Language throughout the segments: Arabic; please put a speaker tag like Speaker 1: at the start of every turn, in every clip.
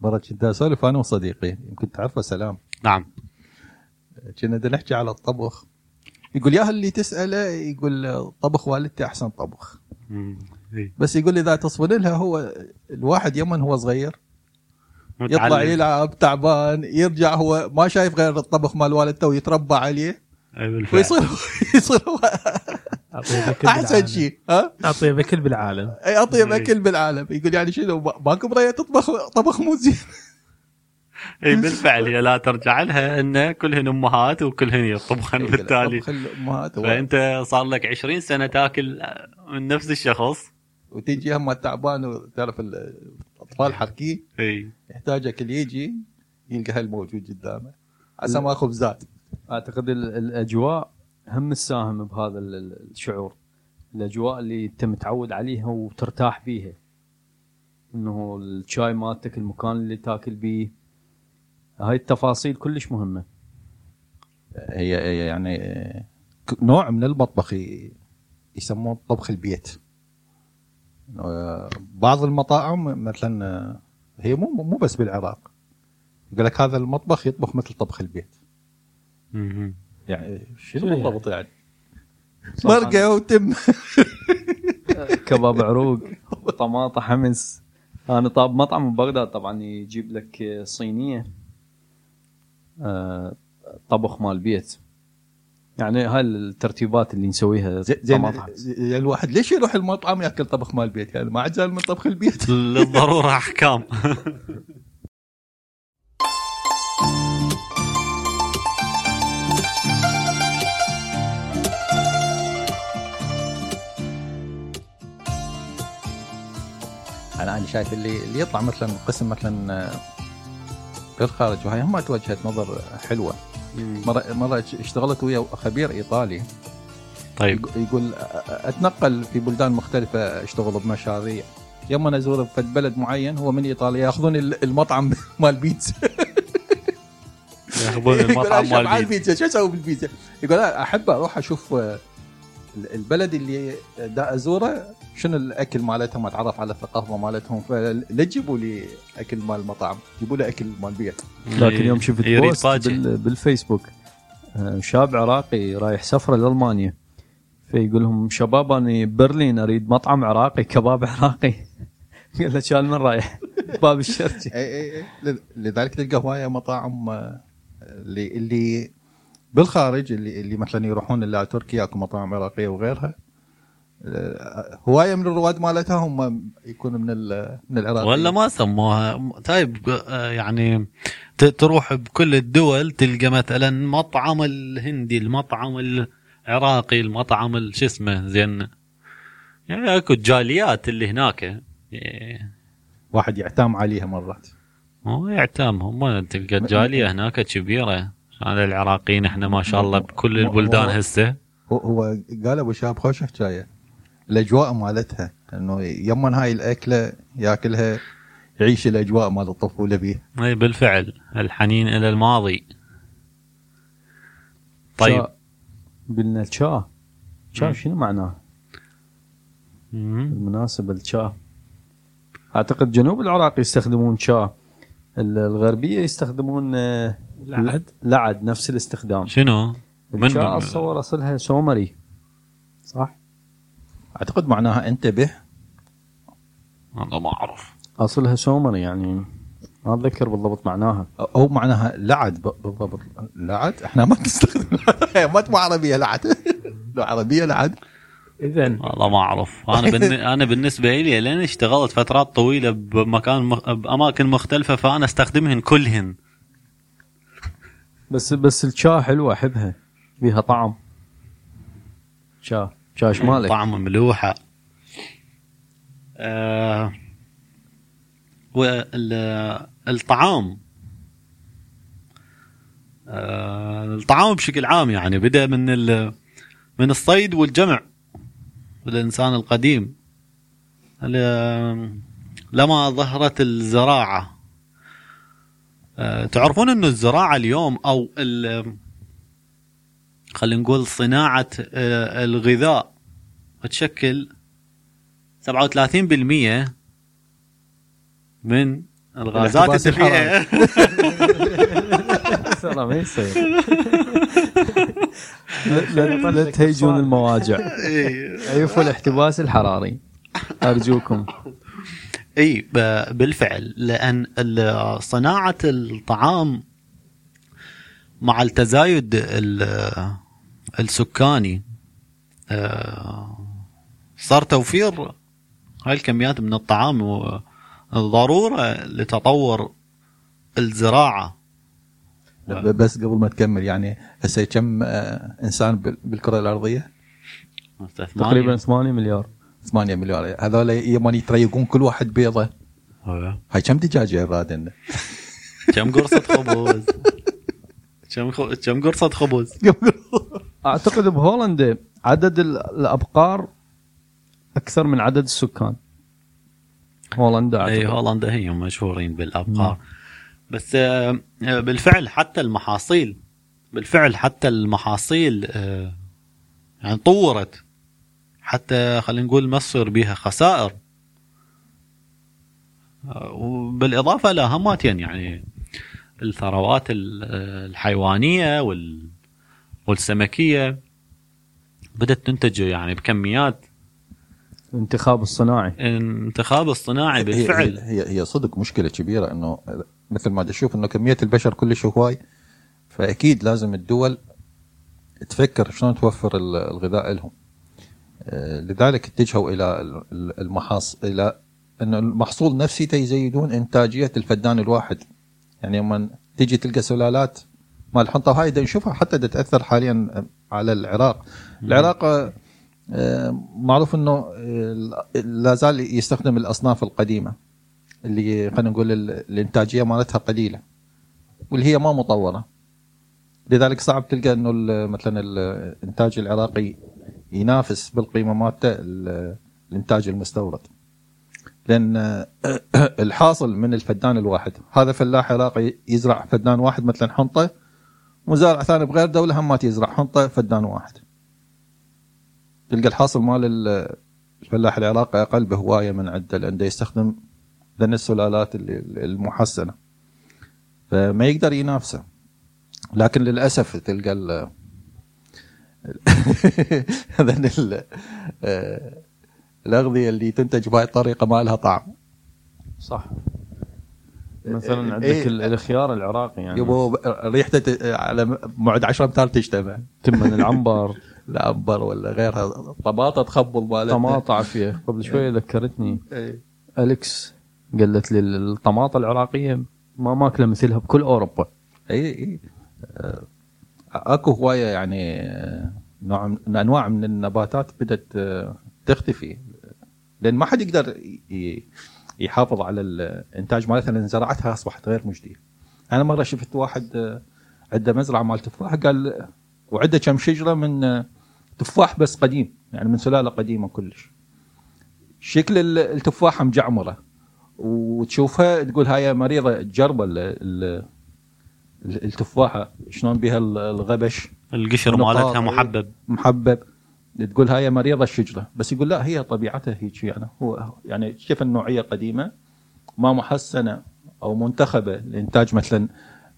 Speaker 1: مرة كنت اسولف انا وصديقي يمكن تعرفه سلام
Speaker 2: نعم
Speaker 1: كنا بدنا نحكي على الطبخ يقول يا اللي تساله يقول طبخ والدتي احسن طبخ
Speaker 2: مم. إي.
Speaker 1: بس يقول اذا تصبر لها هو الواحد يمن هو صغير يطلع
Speaker 2: متعلم.
Speaker 1: يلعب تعبان يرجع هو ما شايف غير الطبخ مال والدته ويتربى عليه
Speaker 2: إي إيه، بالفعل.
Speaker 1: ويصير يصير هو
Speaker 3: اعطيه بكل
Speaker 1: احسن
Speaker 3: بالعالم.
Speaker 1: شيء ها
Speaker 3: اعطيه بكل بالعالم
Speaker 1: أي اطيب
Speaker 2: إي.
Speaker 1: اكل بالعالم يقول يعني شنو ما- ماكو مرايه تطبخ طبخ مو زين
Speaker 2: اي إيه، بالفعل هي لا ترجع لها ان كلهن امهات وكلهن
Speaker 1: إيه،
Speaker 2: يطبخن بالتالي
Speaker 1: طبخ الامهات هو-
Speaker 2: فانت صار لك 20 سنه تاكل من نفس الشخص
Speaker 1: وتيجي هم تعبان وتعرف ال- الاطفال حركي
Speaker 2: اي
Speaker 1: يحتاجك اللي يجي يلقى هالموجود قدامه عسى ما خبزات
Speaker 4: اعتقد ال- الاجواء هم تساهم بهذا ال- ال- الشعور الاجواء اللي انت متعود عليها وترتاح بيها انه الشاي مالتك المكان اللي تاكل بيه هاي التفاصيل كلش مهمه
Speaker 1: هي هي يعني ك- نوع من المطبخ ي- يسموه طبخ البيت آه، بعض المطاعم مثلا آه، هي مو مو بس بالعراق يقول لك هذا المطبخ يطبخ مثل طبخ البيت يعني شنو
Speaker 3: شنو
Speaker 1: بالضبط يعني مرقه وتم
Speaker 4: كباب عروق طماطه حمص انا طاب مطعم ببغداد طبعا يجيب لك صينيه آه، طبخ مال بيت يعني هاي الترتيبات اللي نسويها
Speaker 1: زين- زين
Speaker 4: طماطم حمص.
Speaker 1: زين الواحد ليش يروح المطعم ياكل طبخ مال البيت يعني ما عجل من طبخ البيت
Speaker 2: للضروره احكام
Speaker 1: انا انا شايف اللي اللي يطلع مثلا قسم مثلا آه، للخارج وهي هم توجهت نظر حلوه مره مره اشتغلت ويا خبير ايطالي
Speaker 2: طيب
Speaker 1: يق- يقول أ- اتنقل في بلدان مختلفه اشتغل بمشاريع يوما ازور في بلد معين هو من ايطاليا ياخذون ال- المطعم مال بيتزا
Speaker 2: ياخذون
Speaker 1: يقول
Speaker 2: المطعم
Speaker 1: انا شبعان
Speaker 2: مال بيت.
Speaker 1: بيتزا شو اسوي بالبيتزا؟ يقول انا احب اروح اشوف آه، ال- البلد اللي دا ازوره شنو الاكل مالتهم اتعرف على الثقافه مالتهم فلا تجيبوا لي اكل مال المطعم جيبوا لي اكل مال بيت
Speaker 4: لكن يوم شفت
Speaker 2: يريد
Speaker 4: بوست
Speaker 2: فاجئ.
Speaker 4: بال- بالفيسبوك آه، شاب عراقي رايح سفره لالمانيا فيقول لهم شباب انا برلين اريد مطعم عراقي كباب عراقي قال له شال من رايح باب الشرجي
Speaker 1: اي اي اي إيه، لذ- لذلك تلقى هوايه مطاعم آه، اللي اللي بالخارج اللي اللي مثلا يروحون الى تركيا اكو مطاعم عراقيه وغيرها آه، هوايه من الرواد مالتها هم يكونوا من ال- من العراق
Speaker 2: ولا ما سموها طيب آه، يعني ت- تروح بكل الدول تلقى مثلا مطعم الهندي المطعم العراقي المطعم ال- شو اسمه زين يعني اكو جاليات اللي هناك إيه،
Speaker 1: واحد يعتام عليها مرات
Speaker 2: مو يعتامهم ما تلقى الجاليه هناك كبيره على العراقيين احنا ما شاء الله بكل البلدان هسه
Speaker 1: هو- هو قال ابو شاب خوش حكايه الاجواء مالتها انه يمن هاي الاكله ياكلها يعيش الاجواء مال الطفوله بيه
Speaker 2: اي إيه، بالفعل الحنين الى الماضي طيب
Speaker 4: شا- قلنا تشا تشا
Speaker 2: مم.
Speaker 4: شنو معناه؟
Speaker 2: مم.
Speaker 4: بالمناسبة الشا اعتقد جنوب العراق يستخدمون شا ال- الغربيه يستخدمون آه،
Speaker 3: لعد
Speaker 4: لعد نفس الاستخدام
Speaker 2: شنو؟ من-
Speaker 4: الشا اتصور اصلها سومري صح؟
Speaker 1: اعتقد معناها انتبه
Speaker 2: والله ما اعرف
Speaker 4: اصلها سومري يعني ما اتذكر بالضبط معناها
Speaker 1: او معناها لعد ب- بالضبط لعد احنا ما نستخدم ما تبغى عربيه لعد لو عربيه لعد
Speaker 3: اذا
Speaker 2: والله ما اعرف انا بالن... انا بالنسبه لي لان اشتغلت فترات طويله بمكان مخ... باماكن مختلفه فانا استخدمهن كلهن
Speaker 4: بس بس الشا حلوه احبها بيها طعم شا شا شمالك
Speaker 2: طعم ملوحه آه... والطعام آه... الطعام بشكل عام يعني بدا من ال... من الصيد والجمع الانسان القديم ال- لما ظهرت الزراعه آه، تعرفون انه الزراعه اليوم او ال- خلينا نقول صناعه آه، الغذاء تشكل 37% من الغازات
Speaker 1: الاحتباس
Speaker 2: انت فيها
Speaker 4: ترى ما يصير لا- لا لا تهيجون المواجع
Speaker 2: إيه.
Speaker 4: عيفوا الاحتباس الحراري ارجوكم
Speaker 2: اي ب- بالفعل لان ال- صناعه الطعام مع التزايد ال- السكاني آه، صار توفير هاي الكميات من الطعام و- ضروره لتطور الزراعه
Speaker 1: ب- بس قبل ما تكمل يعني هسه كم آه، انسان بال- بالكره الارضيه؟
Speaker 4: تقريبا 8 مليار
Speaker 1: 8 مليار هذول يوم يتريقون كل واحد بيضه
Speaker 2: آه.
Speaker 1: هاي كم دجاجه راد عندنا؟
Speaker 2: كم قرصه خبز كم خ- كم قرصه خبز
Speaker 4: اعتقد بهولندا عدد ال- الابقار اكثر من عدد السكان هولندا أعتقد.
Speaker 1: أيوه.
Speaker 2: اي إيه، هولندا هي مشهورين بالابقار بس آه، آه، بالفعل حتى المحاصيل بالفعل حتى المحاصيل آه، يعني طورت حتى خلينا نقول ما تصير بيها خسائر آه، وبالاضافه لهماتين يعني الثروات ال- آه، الحيوانيه وال والسمكيه بدات تنتج يعني بكميات
Speaker 4: الانتخاب الصناعي
Speaker 2: الانتخاب الصناعي
Speaker 1: هي- هي-
Speaker 2: بالفعل
Speaker 1: هي هي صدق مشكله كبيره انه مثل ما تشوف انه كميه البشر كلش هواي فاكيد لازم الدول تفكر شلون توفر ال- الغذاء لهم آه، لذلك اتجهوا الى ال- ال- المحاص الى ان المحصول نفسي يزيدون انتاجيه الفدان الواحد يعني لما تجي تلقى سلالات مال الحنطه وهاي دا نشوفها حتى دا تاثر حاليا على العراق العراق آه، آه، معروف انه آه، لا زال يستخدم الاصناف القديمه اللي خلينا نقول ال- الانتاجيه مالتها قليله واللي هي ما مطوره لذلك صعب تلقى انه ال- مثلا ال- الانتاج العراقي ينافس بالقيمه مالته ال- الانتاج المستورد لان آه، الحاصل من الفدان الواحد هذا فلاح عراقي يزرع فدان واحد مثلا حنطه مزارع ثاني بغير دوله هم ما يزرع حنطه فدان واحد تلقى الحاصل مال ال- الفلاح العراقي اقل بهوايه من عده لانه يستخدم لان السلالات ال- المحسنه فما يقدر ينافسه لكن للاسف تلقى ال هذا ال- آه، الاغذيه اللي تنتج بهاي الطريقه ما لها طعم
Speaker 4: صح مثلا عندك
Speaker 1: إيه.
Speaker 4: ال- الخيار العراقي يعني
Speaker 1: يبو ريحته ت- على بعد 10 امتار تجتمع
Speaker 4: تمن العنبر
Speaker 1: العنبر ولا غيرها طماطه تخبل مالتنا
Speaker 4: طماطة عافية قبل شوية ذكرتني
Speaker 1: إيه.
Speaker 4: أليكس قالت لي الطماطة العراقية ما ماكلة مثلها بكل أوروبا
Speaker 1: اي اي إيه، آه، اكو هوايه يعني آه، نوع من انواع من النباتات بدات آه، تختفي لان ما حد يقدر ي- ي- يحافظ على الانتاج مالتها لان زراعتها اصبحت غير مجديه. انا مره شفت واحد آه، عنده مزرعه مال تفاح قال وعنده كم شجره من آه، تفاح بس قديم يعني من سلاله قديمه كلش. شكل ال- التفاحه مجعمره وتشوفها تقول هاي مريضه جربه ال- ال- ال- التفاحه شلون بها ال- الغبش
Speaker 2: القشر
Speaker 1: نقاط،
Speaker 2: مالتها
Speaker 1: إيه.
Speaker 2: محبب
Speaker 1: محبب تقول هاي مريضه الشجره بس يقول لا هي طبيعتها هيك يعني هو يعني شوف النوعيه قديمه ما محسنه او منتخبه لانتاج مثلا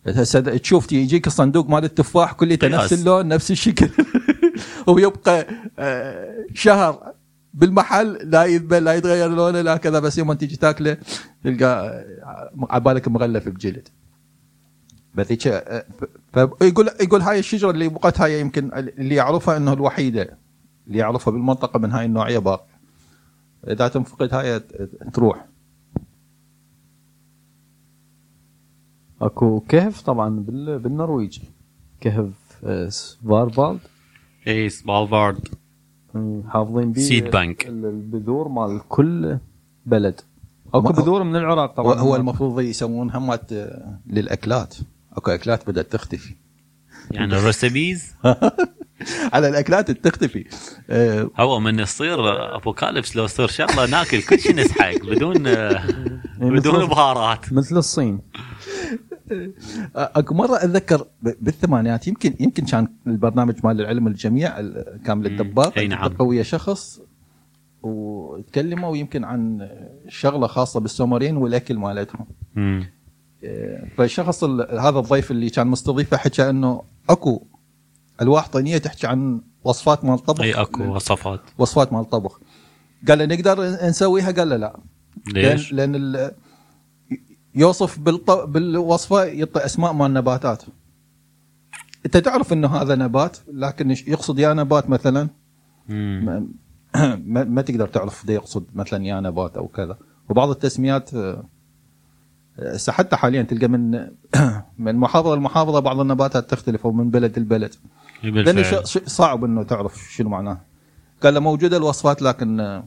Speaker 1: هسه تشوف يجيك الصندوق مال التفاح كله نفس
Speaker 2: قياس.
Speaker 1: اللون نفس الشكل ويبقى آه، شهر بالمحل لا يذبل لا يتغير لونه لا كذا بس يوم تيجي تاكله تلقى آه، عبالك مغلف بجلد بس هيك آه، ف- فيقول يقول هاي الشجره اللي بقت هاي يمكن اللي يعرفها انه الوحيده اللي يعرفها بالمنطقه من هاي النوعيه باقيه اذا تنفقد هاي ت- تروح
Speaker 4: أكو كهف طبعا بال- بالنرويج كهف آه، سفارفالد
Speaker 2: اي سبالفارد
Speaker 4: آه، حافظين بيه
Speaker 2: Seed bank.
Speaker 4: ال- البذور مال كل بلد أكو
Speaker 1: ما-
Speaker 4: بذور من العراق
Speaker 1: هو,
Speaker 4: طبعا
Speaker 1: هو المفروض يسوون همات آه، للاكلات اكو اكلات بدات تختفي
Speaker 2: يعني الريسبيز
Speaker 1: على الاكلات تختفي آه،
Speaker 2: هو من يصير ابوكاليبس لو يصير شغله ناكل كل شيء نسحق بدون
Speaker 4: يعني
Speaker 2: بدون
Speaker 4: مثل-
Speaker 2: بهارات
Speaker 4: مثل الصين
Speaker 1: اكو مره اتذكر ب- بالثمانينات يمكن يمكن كان البرنامج مال العلم الجميع ال- كامل
Speaker 2: مم.
Speaker 1: الدباغ
Speaker 2: أي نعم.
Speaker 1: التقى ويا شخص وتكلموا يمكن عن شغله خاصه بالسومريين والاكل مالتهم
Speaker 2: مم.
Speaker 1: إيه، فالشخص ال- هذا الضيف اللي كان مستضيفه حكى انه اكو الواح طينيه تحكي عن وصفات مال الطبخ
Speaker 2: اي اكو وصفات
Speaker 1: وصفات مال الطبخ قال له نقدر نسويها قال له لا
Speaker 2: ليش؟
Speaker 1: لان, لأن ال- يوصف بالط... بالوصفه يعطي اسماء مال نباتات انت تعرف انه هذا نبات لكن إيش يقصد يا نبات مثلا
Speaker 2: مم.
Speaker 1: ما, ما, ما تقدر تعرف ده يقصد مثلا يا نبات او كذا وبعض التسميات آه، آه، حتى حاليا تلقى من من محافظه لمحافظه بعض النباتات تختلف او من بلد لبلد لانه
Speaker 2: بالفعل
Speaker 1: شيء- شيء صعب انه تعرف شنو معناه قال له موجوده الوصفات لكن آه،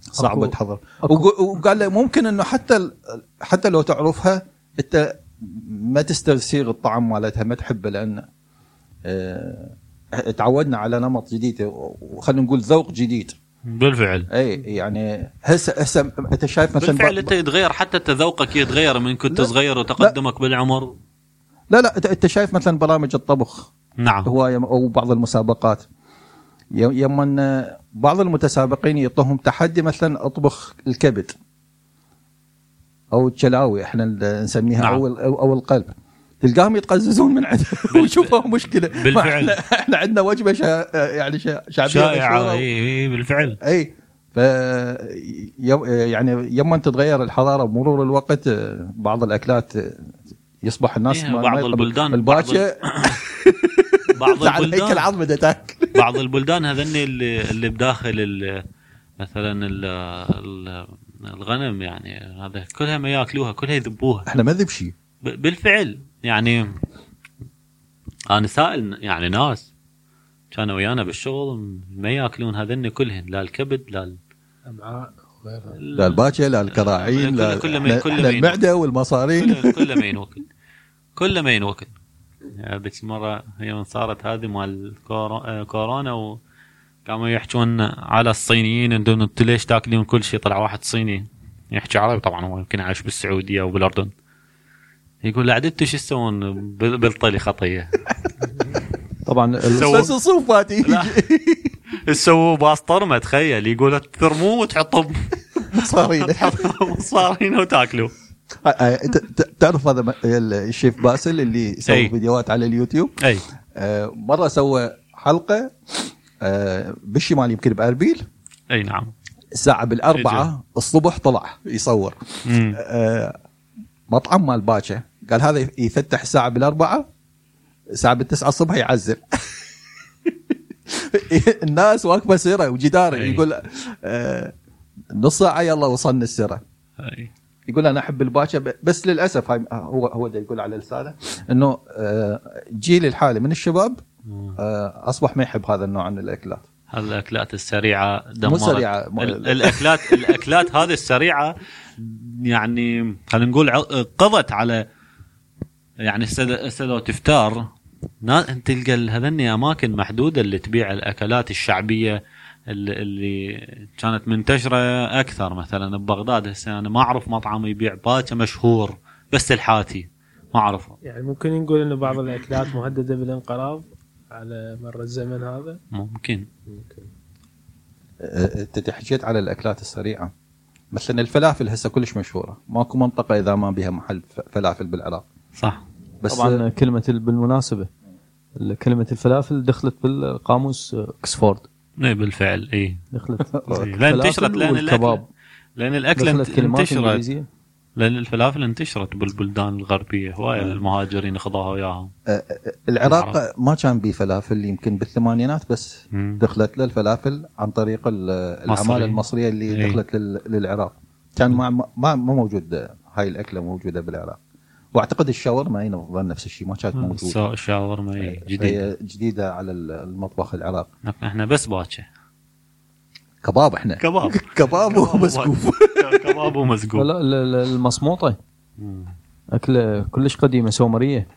Speaker 1: صعبه
Speaker 4: أكو-
Speaker 1: تحضر وق- وقال له ممكن انه حتى ال- حتى لو تعرفها انت ما تستسيغ الطعم مالتها ما تحبه لان آه، تعودنا على نمط جديد وخلينا نقول ذوق جديد
Speaker 2: بالفعل
Speaker 1: اي يعني هسه هسه انت شايف مثلا
Speaker 2: بالفعل
Speaker 1: ب-
Speaker 2: انت يتغير حتى انت ذوقك يتغير من كنت
Speaker 1: لا.
Speaker 2: صغير وتقدمك بالعمر
Speaker 1: لا لا أنت- انت شايف مثلا برامج الطبخ
Speaker 2: نعم
Speaker 1: هوايه او بعض المسابقات يوما بعض المتسابقين يعطوهم تحدي مثلا اطبخ الكبد او الشلاوي احنا ال- نسميها
Speaker 2: نعم.
Speaker 1: نعم. او ال- او أو القلب تلقاهم يتقززون من عندها ويشوفوها مشكله ما
Speaker 2: بالفعل.
Speaker 1: احنا, احنا عندنا وجبه شا يعني شا شعبيه
Speaker 2: شائعه
Speaker 1: مشهورة.
Speaker 2: اي اي إيه، بالفعل
Speaker 1: اي ف يو- يعني يوم تتغير الحضاره بمرور الوقت آه، بعض الاكلات آه، يصبح الناس
Speaker 2: إيه، بعض البلدان-
Speaker 1: الباشا
Speaker 2: بعض
Speaker 1: على هيكل
Speaker 2: البلدان
Speaker 1: عظمه تاكل
Speaker 2: بعض البلدان هذني اللي, اللي بداخل ال- مثلا ال- ال- الغنم يعني هذا كلها ما ياكلوها كلها يذبوها
Speaker 1: احنا ما نذب شيء
Speaker 2: ب- بالفعل يعني انا سائل يعني ناس كانوا ويانا بالشغل ما ياكلون هذني كلهن لا الكبد لا ال-
Speaker 5: امعاء وغيرها
Speaker 1: لا الباكه لا الكراعين لا
Speaker 2: كله-
Speaker 1: احنا-
Speaker 2: كله مين- كله
Speaker 1: احنا
Speaker 2: مين.
Speaker 1: المعده والمصارين
Speaker 2: كله كله ما ينوكل كله ما ينوكل هذيك المره هي من صارت هذه مال كورو- آه، كورونا وقاموا يحجون على الصينيين انتم انتم ليش تاكلون كل شيء طلع واحد صيني يحكي عربي طبعا هو يمكن عايش بالسعوديه او بالاردن يقول لا عاد انتم شو تسوون بال- بالطلي خطيه
Speaker 4: طبعا ال-
Speaker 2: سو-
Speaker 1: بس الصوف فاتي
Speaker 2: تسووا باسطرمه تخيل يقول ترموه وتحطوا
Speaker 1: مصارين
Speaker 2: مصارينه وتاكلوا
Speaker 1: أنت آه، ت- تعرف هذا م- الشيف باسل اللي
Speaker 2: أي.
Speaker 1: يسوي فيديوهات على اليوتيوب
Speaker 2: اي
Speaker 1: آه، مره سوى حلقه آه، بالشمال يمكن باربيل
Speaker 2: اي نعم
Speaker 1: الساعه بالاربعه الصبح طلع يصور
Speaker 2: مم.
Speaker 1: آه، مطعم مال باشا قال هذا يفتح الساعه بالاربعه الساعه بالتسعه الصبح يعزل الناس واقفه سيره وجدار
Speaker 2: أي.
Speaker 1: يقول آه، نص ساعه يلا وصلنا السيره
Speaker 2: أي.
Speaker 1: يقول انا احب الباشا ب- بس للاسف هاي هو هو دا يقول على لسانه انه آه، الجيل الحالي من الشباب
Speaker 2: مم.
Speaker 1: آه، اصبح ما يحب هذا النوع من الاكلات
Speaker 2: الاكلات السريعه دمرت
Speaker 1: سريعة، مو-
Speaker 2: ال- الاكلات الاكلات هذه السريعه يعني خلينا نقول ع- قضت على يعني هسه هسه لو تفتار نا- تلقى ال- هذني اماكن محدوده اللي تبيع الاكلات الشعبيه ال- اللي كانت منتشره اكثر مثلا ببغداد هسه انا ما اعرف مطعم يبيع باكه مشهور بس الحاتي ما اعرفه
Speaker 5: يعني ممكن نقول انه بعض الاكلات مهدده بالانقراض على مر الزمن هذا
Speaker 2: ممكن
Speaker 5: ممكن
Speaker 1: آه، انت حكيت على الاكلات السريعه مثلا الفلافل هسه كلش مشهوره ماكو منطقه اذا ما بها محل ف- فلافل بالعراق
Speaker 2: صح
Speaker 1: بس
Speaker 4: طبعا كلمه ال- بالمناسبه ال- كلمه الفلافل دخلت بالقاموس اكسفورد
Speaker 2: اي إيه، بالفعل اي
Speaker 4: دخلت
Speaker 2: لا انتشرت
Speaker 4: الفلافل
Speaker 2: لان الاكل
Speaker 4: والكباب.
Speaker 2: لان الاكل
Speaker 4: دخلت
Speaker 2: انت-
Speaker 4: كلمات
Speaker 2: انتشرت
Speaker 4: انجليزيه
Speaker 2: لان الفلافل انتشرت بالبلدان الغربيه هواي المهاجرين خذوها وياهم
Speaker 1: آه، العراق ما كان به فلافل يمكن بالثمانينات بس دخلت له الفلافل عن طريق ال- العماله المصريه
Speaker 2: إي.
Speaker 1: اللي دخلت لل- للعراق كان ما ما ما موجود هاي الاكله موجوده بالعراق واعتقد الشاورما اي ظن نفس الشيء ما كانت موجوده
Speaker 2: السو- الشاورما إي، جديد
Speaker 1: هي جديده على ال- المطبخ العراقي
Speaker 2: احنا بس باكه
Speaker 1: كباب احنا
Speaker 2: كباب
Speaker 1: كباب ومسكوف
Speaker 2: كباب ومسقوف
Speaker 4: لا ال- ال- المصموطه اكله كلش قديمه سومريه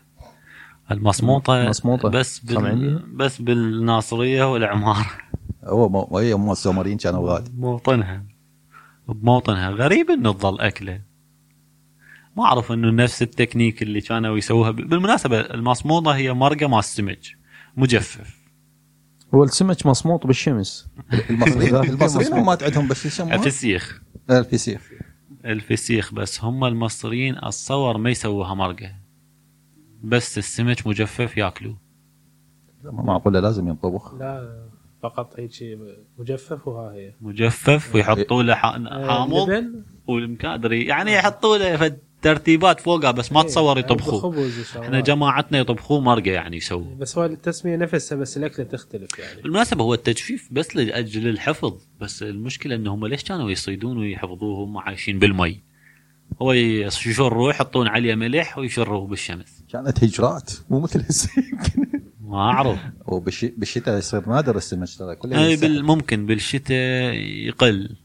Speaker 2: المصموطه
Speaker 4: المصموطة.
Speaker 2: بس
Speaker 4: سامعيني؟
Speaker 2: بال... بس بالناصريه والعماره
Speaker 1: هو مو- هي مو السومريين كانوا غاد
Speaker 2: موطنها بموطنها غريب انه تظل اكله ما اعرف انه نفس التكنيك اللي كانوا يسووها ب- بالمناسبه المصموطه هي مرقه مال السمك مجفف
Speaker 4: هو السمك مصموط بالشمس
Speaker 1: المصريين
Speaker 4: ذاك
Speaker 1: المصريين
Speaker 4: المصري.
Speaker 1: هم عندهم بس يسموها
Speaker 2: الفسيخ
Speaker 1: الفسيخ
Speaker 2: الفسيخ بس هم المصريين اتصور ما يسووها مرقه بس السمك مجفف ياكلوه
Speaker 1: معقوله لازم ينطبخ
Speaker 5: لا فقط هيك شيء مجفف وها هي آه،
Speaker 2: مجفف ويحطوا له ح- حامض
Speaker 5: إيه، لبن
Speaker 2: والمكادري يعني يحطوا له فد- ترتيبات فوقها بس ما تصور
Speaker 5: إيه،
Speaker 2: يطبخوه
Speaker 5: خبز وشغلات.
Speaker 2: احنا جماعتنا يطبخوه مرقه يعني يسووه
Speaker 5: بس هو التسميه نفسها بس الاكله تختلف يعني
Speaker 2: بالمناسبة هو التجفيف بس لأجل الحفظ بس المشكلة أنه هم ليش كانوا يصيدون ويحفظوه هم عايشين بالمي هو يشروه يحطون عليه ملح ويشروه بالشمس
Speaker 1: كانت هجرات مو مثل هسه يمكن
Speaker 2: ما أعرف
Speaker 1: وبالشتاء يصير نادر السمك ترى كله
Speaker 2: أي
Speaker 1: ينسحب.
Speaker 2: بال- ممكن بالشتاء يقل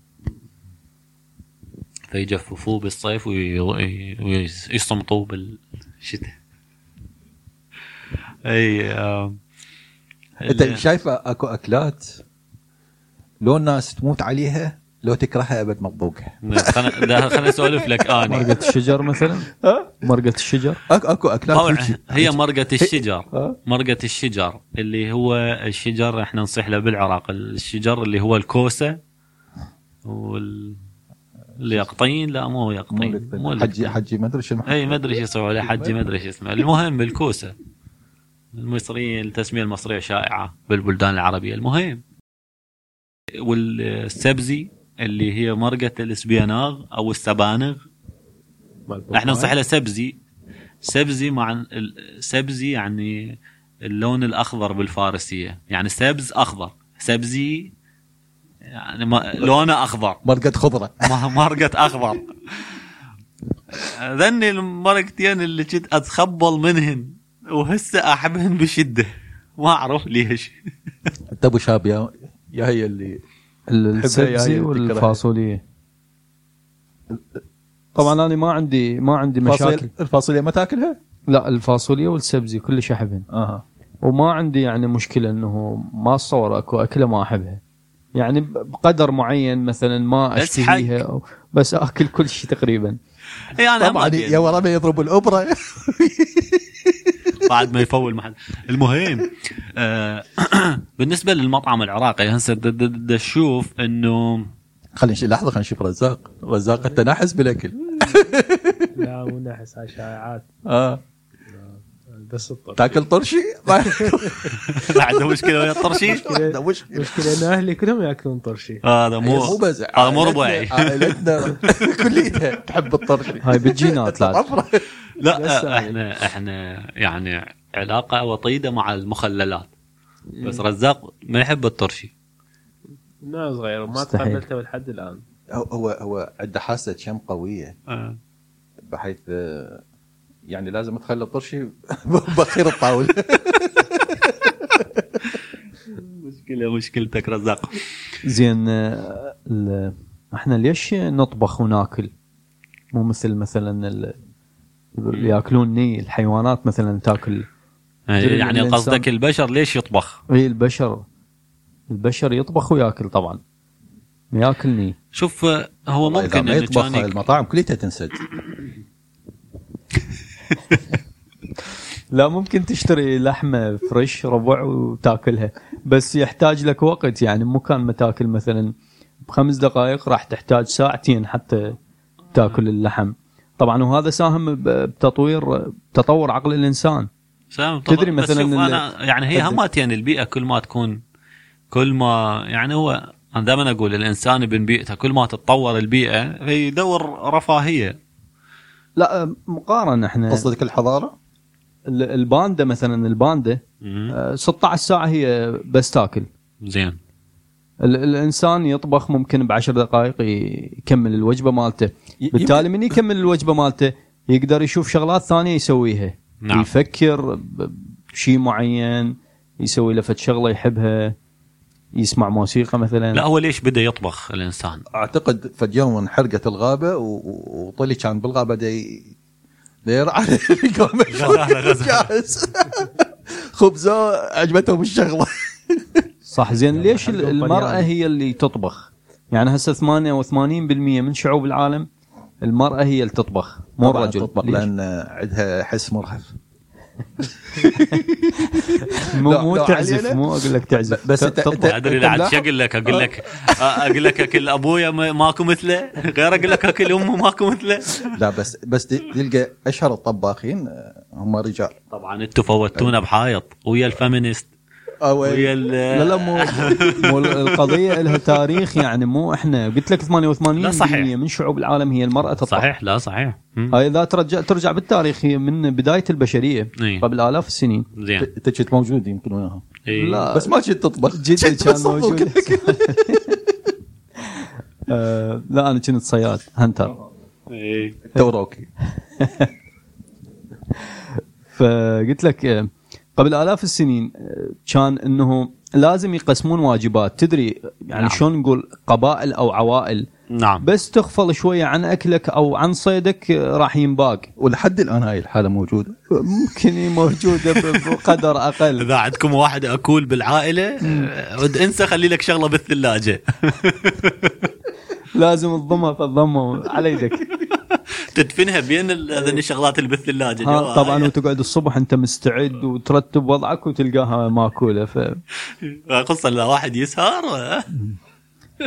Speaker 2: فيجففوه بالصيف وي- وي- ويصمتوه بالشتاء اي آم،
Speaker 1: انت شايف اكو اكلات لو الناس تموت عليها لو تكرهها ابد ما تذوقها
Speaker 2: خل- لا، خليني اسولف لك آه، اني
Speaker 4: مرقه الشجر مثلا
Speaker 1: ها؟
Speaker 4: مرقه الشجر
Speaker 1: اكو اكو اكلات
Speaker 2: طبعا
Speaker 1: هيجي.
Speaker 2: هي مرقة الشجر
Speaker 1: ها؟
Speaker 2: مرقة الشجر اللي هو الشجر احنا نصيح له بالعراق الشجر اللي هو الكوسة وال اليقطين لا مو
Speaker 1: مو
Speaker 2: يقطين
Speaker 1: لك.
Speaker 2: مو
Speaker 1: حجي
Speaker 2: اليقطين.
Speaker 1: حجي ما ادري شنو
Speaker 2: اي ما ادري شو يسوي عليه حجي ما ادري شو اسمه المهم الكوسة المصريين التسمية المصرية شائعة بالبلدان العربية المهم والسبزي اللي هي مرقة السبيناغ او السبانغ
Speaker 5: مال
Speaker 2: احنا نصح له سبزي سبزي مع ال- سبزي يعني اللون الاخضر بالفارسيه يعني سبز اخضر سبزي يعني ما لونه اخضر
Speaker 1: مرقه خضره
Speaker 2: ما- مرقه اخضر ذني المرقتين اللي كنت اتخبل منهن وهسه احبهن بشده ما اعرف ليش
Speaker 1: انت ابو شاب يا يا هي اللي
Speaker 4: السبزي
Speaker 1: هي
Speaker 4: والفاصوليه طبعا انا ما عندي ما عندي مشاكل
Speaker 1: الفاصوليا الفاصوليا ما تاكلها؟
Speaker 4: لا الفاصوليه والسبزي كلش احبهن
Speaker 1: اها
Speaker 4: وما عندي يعني مشكله انه ما اتصور اكو اكله ما احبها يعني ب- بقدر معين مثلا ما
Speaker 2: بس حق.
Speaker 4: اشتهيها أو- بس اكل كل شيء تقريبا
Speaker 2: اي انا
Speaker 1: طبعا
Speaker 2: أبغى
Speaker 1: يا ورا ما يضرب الابره
Speaker 2: بعد ما يفول محل المهم آه بالنسبه للمطعم العراقي هسه د- د- د- تشوف انه
Speaker 1: خلينا نشوف لحظه خلينا نشوف رزاق رزاق التناحس بالاكل
Speaker 5: لا مو نحس هاي شائعات
Speaker 1: اه
Speaker 5: بس الطب
Speaker 1: تاكل طرشي
Speaker 2: ما عنده مشكله ويا الطرشيش
Speaker 5: طيب،
Speaker 1: ما مشكله
Speaker 5: المشكله ان اهلي كلهم ياكلون طرشي
Speaker 2: هذا
Speaker 1: مو مو
Speaker 2: مو
Speaker 1: بس
Speaker 2: هذا مو
Speaker 1: عائلتنا-
Speaker 2: ربعي
Speaker 1: عائلتنا كليتها تحب الطرشي
Speaker 4: هاي بالجينات لازم
Speaker 1: الأبرة.
Speaker 4: بس
Speaker 2: لا
Speaker 1: يعني.
Speaker 4: هاي.
Speaker 2: احنا احنا يعني علاقه وطيده مع المخللات بس رزاق ما يحب الطرشي
Speaker 5: من صغير وما
Speaker 4: مستحيل.
Speaker 5: تقبلته لحد الان
Speaker 1: هو هو هو عنده حاسه شم قويه بحيث آه، يعني لازم تخلي الطرشي بخير الطاوله
Speaker 2: مشكله مشكلتك رزاق
Speaker 4: زين آه، ال- احنا ليش نطبخ وناكل مو مثل مثلا ال- اللي ياكلون ني الحيوانات مثلا تاكل
Speaker 2: يعني
Speaker 4: الإنسان.
Speaker 2: قصدك البشر ليش يطبخ
Speaker 4: اي إيه، البشر البشر يطبخ وياكل طبعا ما ياكل ني
Speaker 2: شوف آه، هو
Speaker 1: إذا
Speaker 2: ممكن
Speaker 1: ما
Speaker 2: إنه
Speaker 1: يطبخ
Speaker 2: كان يك-
Speaker 1: المطاعم كليتها تنسد
Speaker 4: لا ممكن تشتري لحمه فريش ربع وتاكلها بس يحتاج لك وقت يعني مو كان ما تاكل مثلا بخمس دقائق راح تحتاج ساعتين حتى تاكل اللحم طبعا وهذا ساهم ب- بتطوير تطور عقل الانسان
Speaker 2: سام طبعا
Speaker 4: تدري
Speaker 2: بس
Speaker 4: مثلاً
Speaker 2: شوف
Speaker 4: ال-
Speaker 2: انا يعني هي
Speaker 4: أد-
Speaker 2: همات يعني البيئه كل ما تكون كل ما يعني هو انا دائما اقول الانسان ابن بيئته كل ما تتطور البيئه فيدور رفاهيه
Speaker 4: لا مقارنه احنا
Speaker 1: قصدك الحضاره؟
Speaker 4: ال- الباندا مثلا الباندا آه، 16 ساعه هي بس تاكل
Speaker 2: زين
Speaker 4: ال- الانسان يطبخ ممكن بعشر دقائق ي- يكمل الوجبه مالته
Speaker 1: ي-
Speaker 4: بالتالي من يكمل الوجبه مالته يقدر يشوف شغلات ثانيه يسويها
Speaker 2: نعم.
Speaker 4: يفكر ب- بشيء معين يسوي له فد شغله يحبها يسمع موسيقى مثلا
Speaker 2: لا هو ليش بدا يطبخ الانسان
Speaker 1: اعتقد فد يوم انحرقت الغابه و- و- وطلي كان بالغابه دي يرعى القمة
Speaker 2: غزالة، غزالة.
Speaker 1: جاهز خبزه عجبتهم الشغله
Speaker 4: صح زين ليش ال-
Speaker 5: حلقهم
Speaker 4: المراه
Speaker 5: طليان.
Speaker 4: هي اللي تطبخ يعني هسه 88% من شعوب العالم المراه هي اللي تطبخ مو
Speaker 1: طبعاً
Speaker 4: الرجل
Speaker 1: تطبخ
Speaker 4: ليش؟
Speaker 1: لان عندها حس مرهف
Speaker 4: مو
Speaker 1: لا،
Speaker 4: مو
Speaker 1: لا،
Speaker 4: تعزف
Speaker 1: علينا.
Speaker 4: مو اقول لك تعزف
Speaker 1: بس
Speaker 4: ت-
Speaker 1: أنت-
Speaker 4: تطلع.
Speaker 1: أنت-
Speaker 2: ما ادري لا عاد شو اقول لك اقول لك اقول لك اكل ابويا ما- ماكو مثله غير اقول لك اكل امه ماكو مثله
Speaker 1: لا بس بس تلقى اشهر الطباخين آه، هم رجال
Speaker 2: طبعا انتم فوتونا بحايط ويا الفيمينست ويا ال-
Speaker 4: لا لا مو مو ال- القضيه لها تاريخ يعني مو احنا قلت لك 88%
Speaker 2: لا، صحيح.
Speaker 4: من شعوب العالم هي المراه تطلع
Speaker 2: صحيح لا صحيح مم.
Speaker 4: هاي اذا ترجع ترجع بالتاريخ هي من بدايه البشريه
Speaker 2: إيه.
Speaker 4: قبل الاف السنين
Speaker 1: ت-
Speaker 2: زين
Speaker 1: انت كنت موجود يمكن وياهم
Speaker 2: إيه.
Speaker 4: لا.
Speaker 1: بس ما كنت تطبخ
Speaker 4: جدي
Speaker 1: كنت
Speaker 4: كان
Speaker 1: بس
Speaker 4: موجود
Speaker 1: أطبخ.
Speaker 4: آه، لا انا كنت صياد هنتر
Speaker 2: إيه.
Speaker 1: توروكي
Speaker 4: فقلت لك آه، قبل الاف السنين آه، كان انه لازم يقسمون واجبات تدري يعني
Speaker 2: نعم.
Speaker 4: شلون نقول قبائل او عوائل
Speaker 2: نعم
Speaker 4: بس تغفل شويه عن اكلك او عن صيدك آه، راح ينباق
Speaker 1: ولحد الان هاي الحاله موجوده
Speaker 4: ممكن هي موجوده ب- بقدر اقل
Speaker 2: اذا عندكم واحد اكول بالعائله عد انسى خلي لك شغله بالثلاجه
Speaker 4: لازم تضمها فتضمها على يدك
Speaker 2: تدفنها بين ال- هذني الشغلات اللي بالثلاجه
Speaker 4: إيه. ها، طبعا وتقعد الصبح انت مستعد وترتب وضعك وتلقاها ماكوله ف...
Speaker 2: خصوصا لو واحد يسهر آه،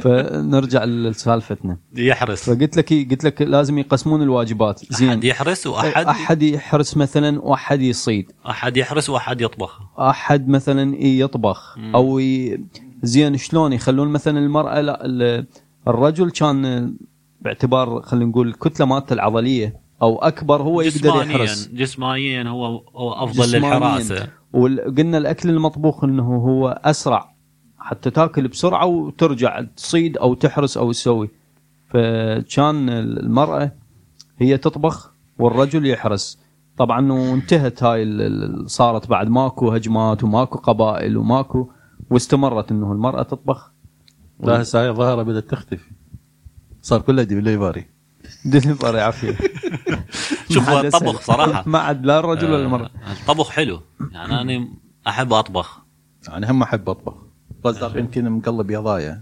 Speaker 4: فنرجع لسالفتنا
Speaker 2: يحرس
Speaker 4: فقلت لك إيه، قلت لك لازم يقسمون الواجبات
Speaker 2: احد
Speaker 4: زين
Speaker 2: يحرس واحد
Speaker 4: احد يحرس مثلا واحد يصيد
Speaker 2: احد يحرس واحد يطبخ
Speaker 4: احد مثلا يطبخ او ي... زين شلون يخلون مثلا المراه لا ال- الرجل كان باعتبار خلينا نقول الكتله مالته العضليه او اكبر هو يقدر
Speaker 2: جسمانيا
Speaker 4: يحرس
Speaker 2: جسمانيا هو هو افضل
Speaker 4: جسمانياً.
Speaker 2: للحراسه
Speaker 4: وقلنا الاكل المطبوخ انه هو اسرع حتى تاكل بسرعه وترجع تصيد او تحرس او تسوي فكان المراه هي تطبخ والرجل يحرس طبعا وانتهت هاي ال- ال- صارت بعد ماكو هجمات وماكو قبائل وماكو واستمرت انه المراه تطبخ
Speaker 1: لا هسه هاي الظاهره بدات تختفي صار كله ديليفري
Speaker 4: دليفري عافيه
Speaker 2: شوف هو
Speaker 4: ما عاد أسأل.
Speaker 2: الطبخ صراحه
Speaker 4: ما عاد لا الرجل ولا المراه
Speaker 2: آه، الطبخ حلو يعني انا احب اطبخ
Speaker 1: انا يعني هم احب اطبخ قصدك يمكن مقلب يضايا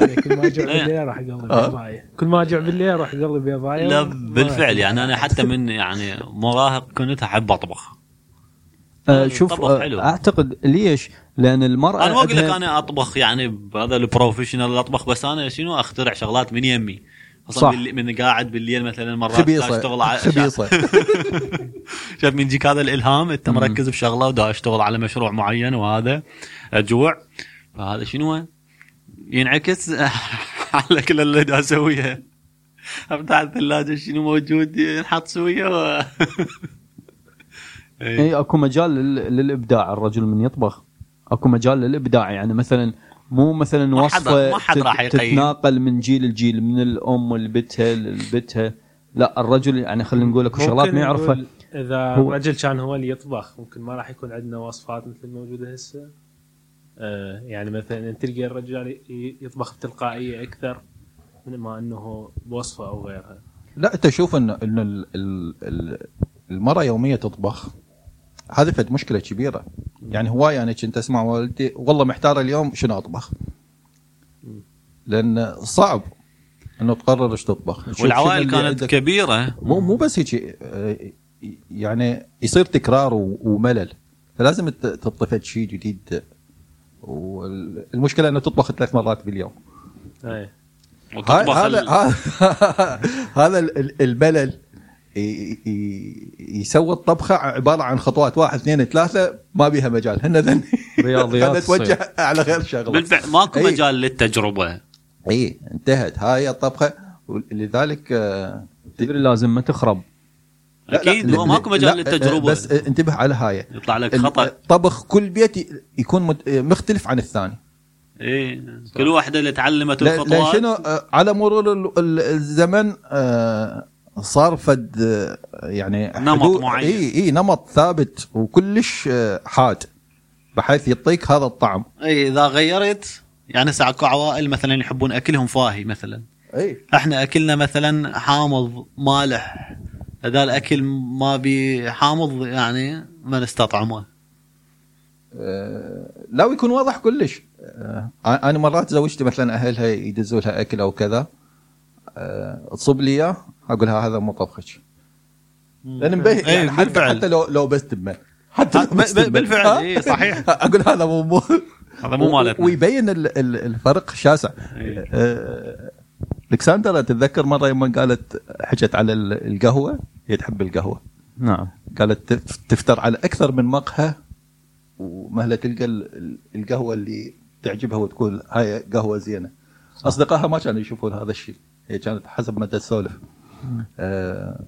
Speaker 5: يعني كل ما اجوع بالليل راح اقلب يضايع كل ما اجوع بالليل راح اقلب يضايع
Speaker 2: آه. لا بالفعل يعني انا حتى من يعني مراهق كنت احب اطبخ
Speaker 4: آه، شوف
Speaker 2: طبخ
Speaker 4: آه،
Speaker 2: حلو.
Speaker 4: اعتقد ليش؟ لان المراه
Speaker 2: انا ما اقول لك
Speaker 4: عندها-
Speaker 2: انا اطبخ يعني بهذا البروفيشنال اطبخ بس انا شنو اخترع شغلات من يمي
Speaker 4: صح.
Speaker 2: خصوصا باللي- من قاعد بالليل مثلا مرات دا اشتغل
Speaker 1: خبيصه
Speaker 2: على شاف-
Speaker 1: خبيصه
Speaker 2: شاف من يجيك هذا الالهام انت مركز بشغله ودا اشتغل على مشروع معين وهذا جوع فهذا شنو ينعكس على كل اللي دا اسويها افتح الثلاجه شنو موجود ينحط سويه و... إيه.
Speaker 4: اي اكو مجال لل- للابداع الرجل من يطبخ اكو مجال للابداع يعني مثلا مو مثلا
Speaker 2: ما حد-
Speaker 4: وصفه
Speaker 2: ما حد
Speaker 4: تت-
Speaker 2: راح يقيم.
Speaker 4: تتناقل من جيل لجيل من الام لبتها لبتها لا الرجل يعني خلينا نقول اكو شغلات ما يعرفها
Speaker 5: اذا
Speaker 4: هو-
Speaker 5: الرجل كان هو اللي يطبخ ممكن ما راح يكون عندنا وصفات مثل الموجوده هسه آه يعني مثلا تلقى الرجال ي- يطبخ بتلقائيه اكثر من ما انه بوصفه او غيرها
Speaker 1: لا انت شوف ان ان ال- ال- ال- المراه يوميه تطبخ هذه فد مشكله كبيره يعني هواي انا كنت اسمع والدي والله محتار اليوم شنو اطبخ لان صعب انه تقرر ايش تطبخ شوف
Speaker 2: والعوائل
Speaker 1: شنو اللي
Speaker 2: كانت
Speaker 1: عندك.
Speaker 2: كبيره
Speaker 1: مو مو بس هيك آه، يعني يصير تكرار و- وملل فلازم ت- تطفي شيء جديد والمشكله انه تطبخ ثلاث مرات باليوم
Speaker 5: اي
Speaker 1: هاي-
Speaker 2: وتطبخ
Speaker 1: هذا
Speaker 2: ال-
Speaker 1: هذا- هذا ال- ال- الملل ي- ي- يسوي الطبخه عباره عن خطوات واحد اثنين ثلاثه ما بيها مجال هن ذن
Speaker 4: رياضيات
Speaker 1: هن توجه على غير شغله
Speaker 2: بالفعل ماكو
Speaker 1: إيه.
Speaker 2: مجال للتجربه
Speaker 1: اي انتهت هاي الطبخه ولذلك آه،
Speaker 4: تدري لازم ما تخرب
Speaker 1: لا- لا،
Speaker 2: اكيد هو
Speaker 1: ل-
Speaker 2: ماكو
Speaker 1: لا،
Speaker 2: مجال
Speaker 1: آه،
Speaker 2: للتجربه
Speaker 1: بس آه، انتبه على هاي
Speaker 2: يطلع لك خطا
Speaker 1: طبخ كل بيت ي- يكون مت- مختلف عن الثاني
Speaker 2: ايه كل واحده اللي تعلمت
Speaker 1: إيه، لا- لان
Speaker 2: الخطوات
Speaker 1: شنو آه، على مرور ال- ال- الزمن آه، صار فد آه، يعني
Speaker 2: نمط معين.
Speaker 1: اي اي نمط ثابت وكلش آه، حاد بحيث يعطيك هذا الطعم
Speaker 2: اي اذا إيه، غيرت يعني هسه اكو عوائل مثلا يحبون اكلهم فاهي مثلا
Speaker 1: اي
Speaker 2: احنا اكلنا مثلا حامض مالح هذا الاكل ما بي حامض يعني ما نستطعمه
Speaker 1: آه، لا ويكون واضح كلش آه، انا مرات زوجتي مثلا اهلها يدزوا لها اكل او كذا آه، تصب لي اياه اقول لها هذا مو طبخك لان مبين
Speaker 2: إي،
Speaker 1: يعني حتى,
Speaker 2: إيه، بالفعل.
Speaker 1: حتى لو لو بس تبه حتى
Speaker 2: ب- ب- بالفعل اي صحيح
Speaker 1: اقول هذا مو مو
Speaker 2: هذا مو مالتنا
Speaker 1: ويبين ال- ال- الفرق شاسع
Speaker 2: إيه.
Speaker 1: آه، الكساندرا تتذكر مره يوم قالت حكت على ال- القهوه هي تحب القهوه
Speaker 4: نعم
Speaker 1: قالت تف- تفتر على اكثر من مقهى ومهلا تلقى ال- ال- القهوه اللي تعجبها وتقول هاي قهوه زينه اصدقائها ما كانوا يشوفون هذا الشيء هي كانت حسب ما تسولف آه،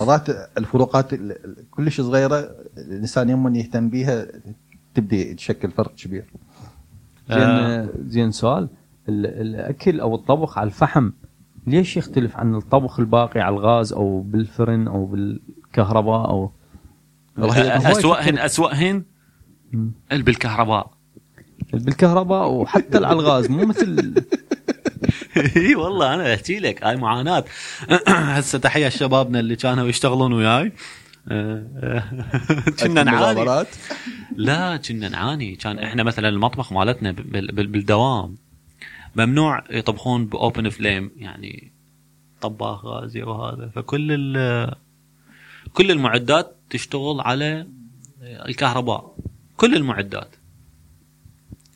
Speaker 1: مرات الفروقات ال- ال- كلش صغيره الانسان يوم يهتم بيها تبدي تشكل فرق كبير
Speaker 2: آه.
Speaker 4: زين زين سؤال ال- الاكل او الطبخ على الفحم ليش يختلف عن الطبخ الباقي على الغاز او بالفرن او بالكهرباء او
Speaker 6: اسوأهن اسوأهن
Speaker 4: مم.
Speaker 6: اللي بالكهرباء
Speaker 4: بالكهرباء وحتى على الغاز مو مثل
Speaker 2: اي والله انا احكي لك هاي معاناه هسه تحيه شبابنا اللي كانوا يشتغلون وياي آه، آه، كنا نعاني
Speaker 1: المغامرات.
Speaker 2: لا كنا نعاني كان احنا مثلا المطبخ مالتنا بال- بال- بالدوام ممنوع يطبخون باوبن فليم يعني طباخ غازي وهذا فكل ال- كل المعدات تشتغل على الكهرباء كل المعدات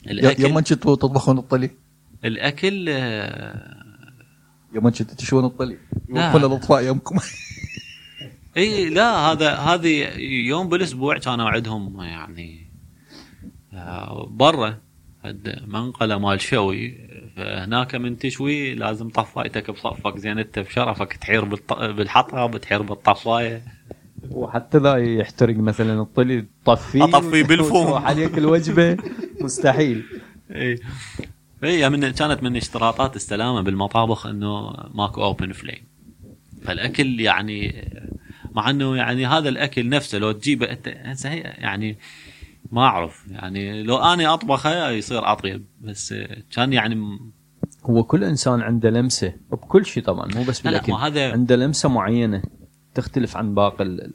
Speaker 1: ي- يوم
Speaker 2: الاكل
Speaker 1: كنتوا تطبخون الطلي
Speaker 2: الاكل آه،
Speaker 1: يوم كنتوا تشون الطلي
Speaker 2: لا.
Speaker 1: ولا الاطفاء يومكم
Speaker 2: اي لا هذا هذه يوم بالاسبوع كان اوعدهم يعني آه، برا عند منقله مال شوي فهناك من تشوي لازم طفايتك بصفك زين انت بشرفك تحير بالط- بالحطب تحير بالطفايه
Speaker 4: وحتى لا يحترق مثلا الطلي تطفيه
Speaker 2: أطفيه بالفوم.
Speaker 4: وتروح عليك الوجبه مستحيل
Speaker 2: اي هي إيه، يعني من كانت من اشتراطات السلامه بالمطابخ انه ماكو اوبن فليم فالاكل يعني مع انه يعني هذا الاكل نفسه لو تجيبه انت هسه هي يعني ما اعرف يعني لو اني اطبخه يصير اطيب بس كان يعني م-
Speaker 4: هو كل انسان عنده لمسه بكل شيء طبعا مو بس
Speaker 2: لا لا
Speaker 4: بالاكل
Speaker 2: ما هذا
Speaker 4: عنده لمسه معينه تختلف عن باقي ال... ال-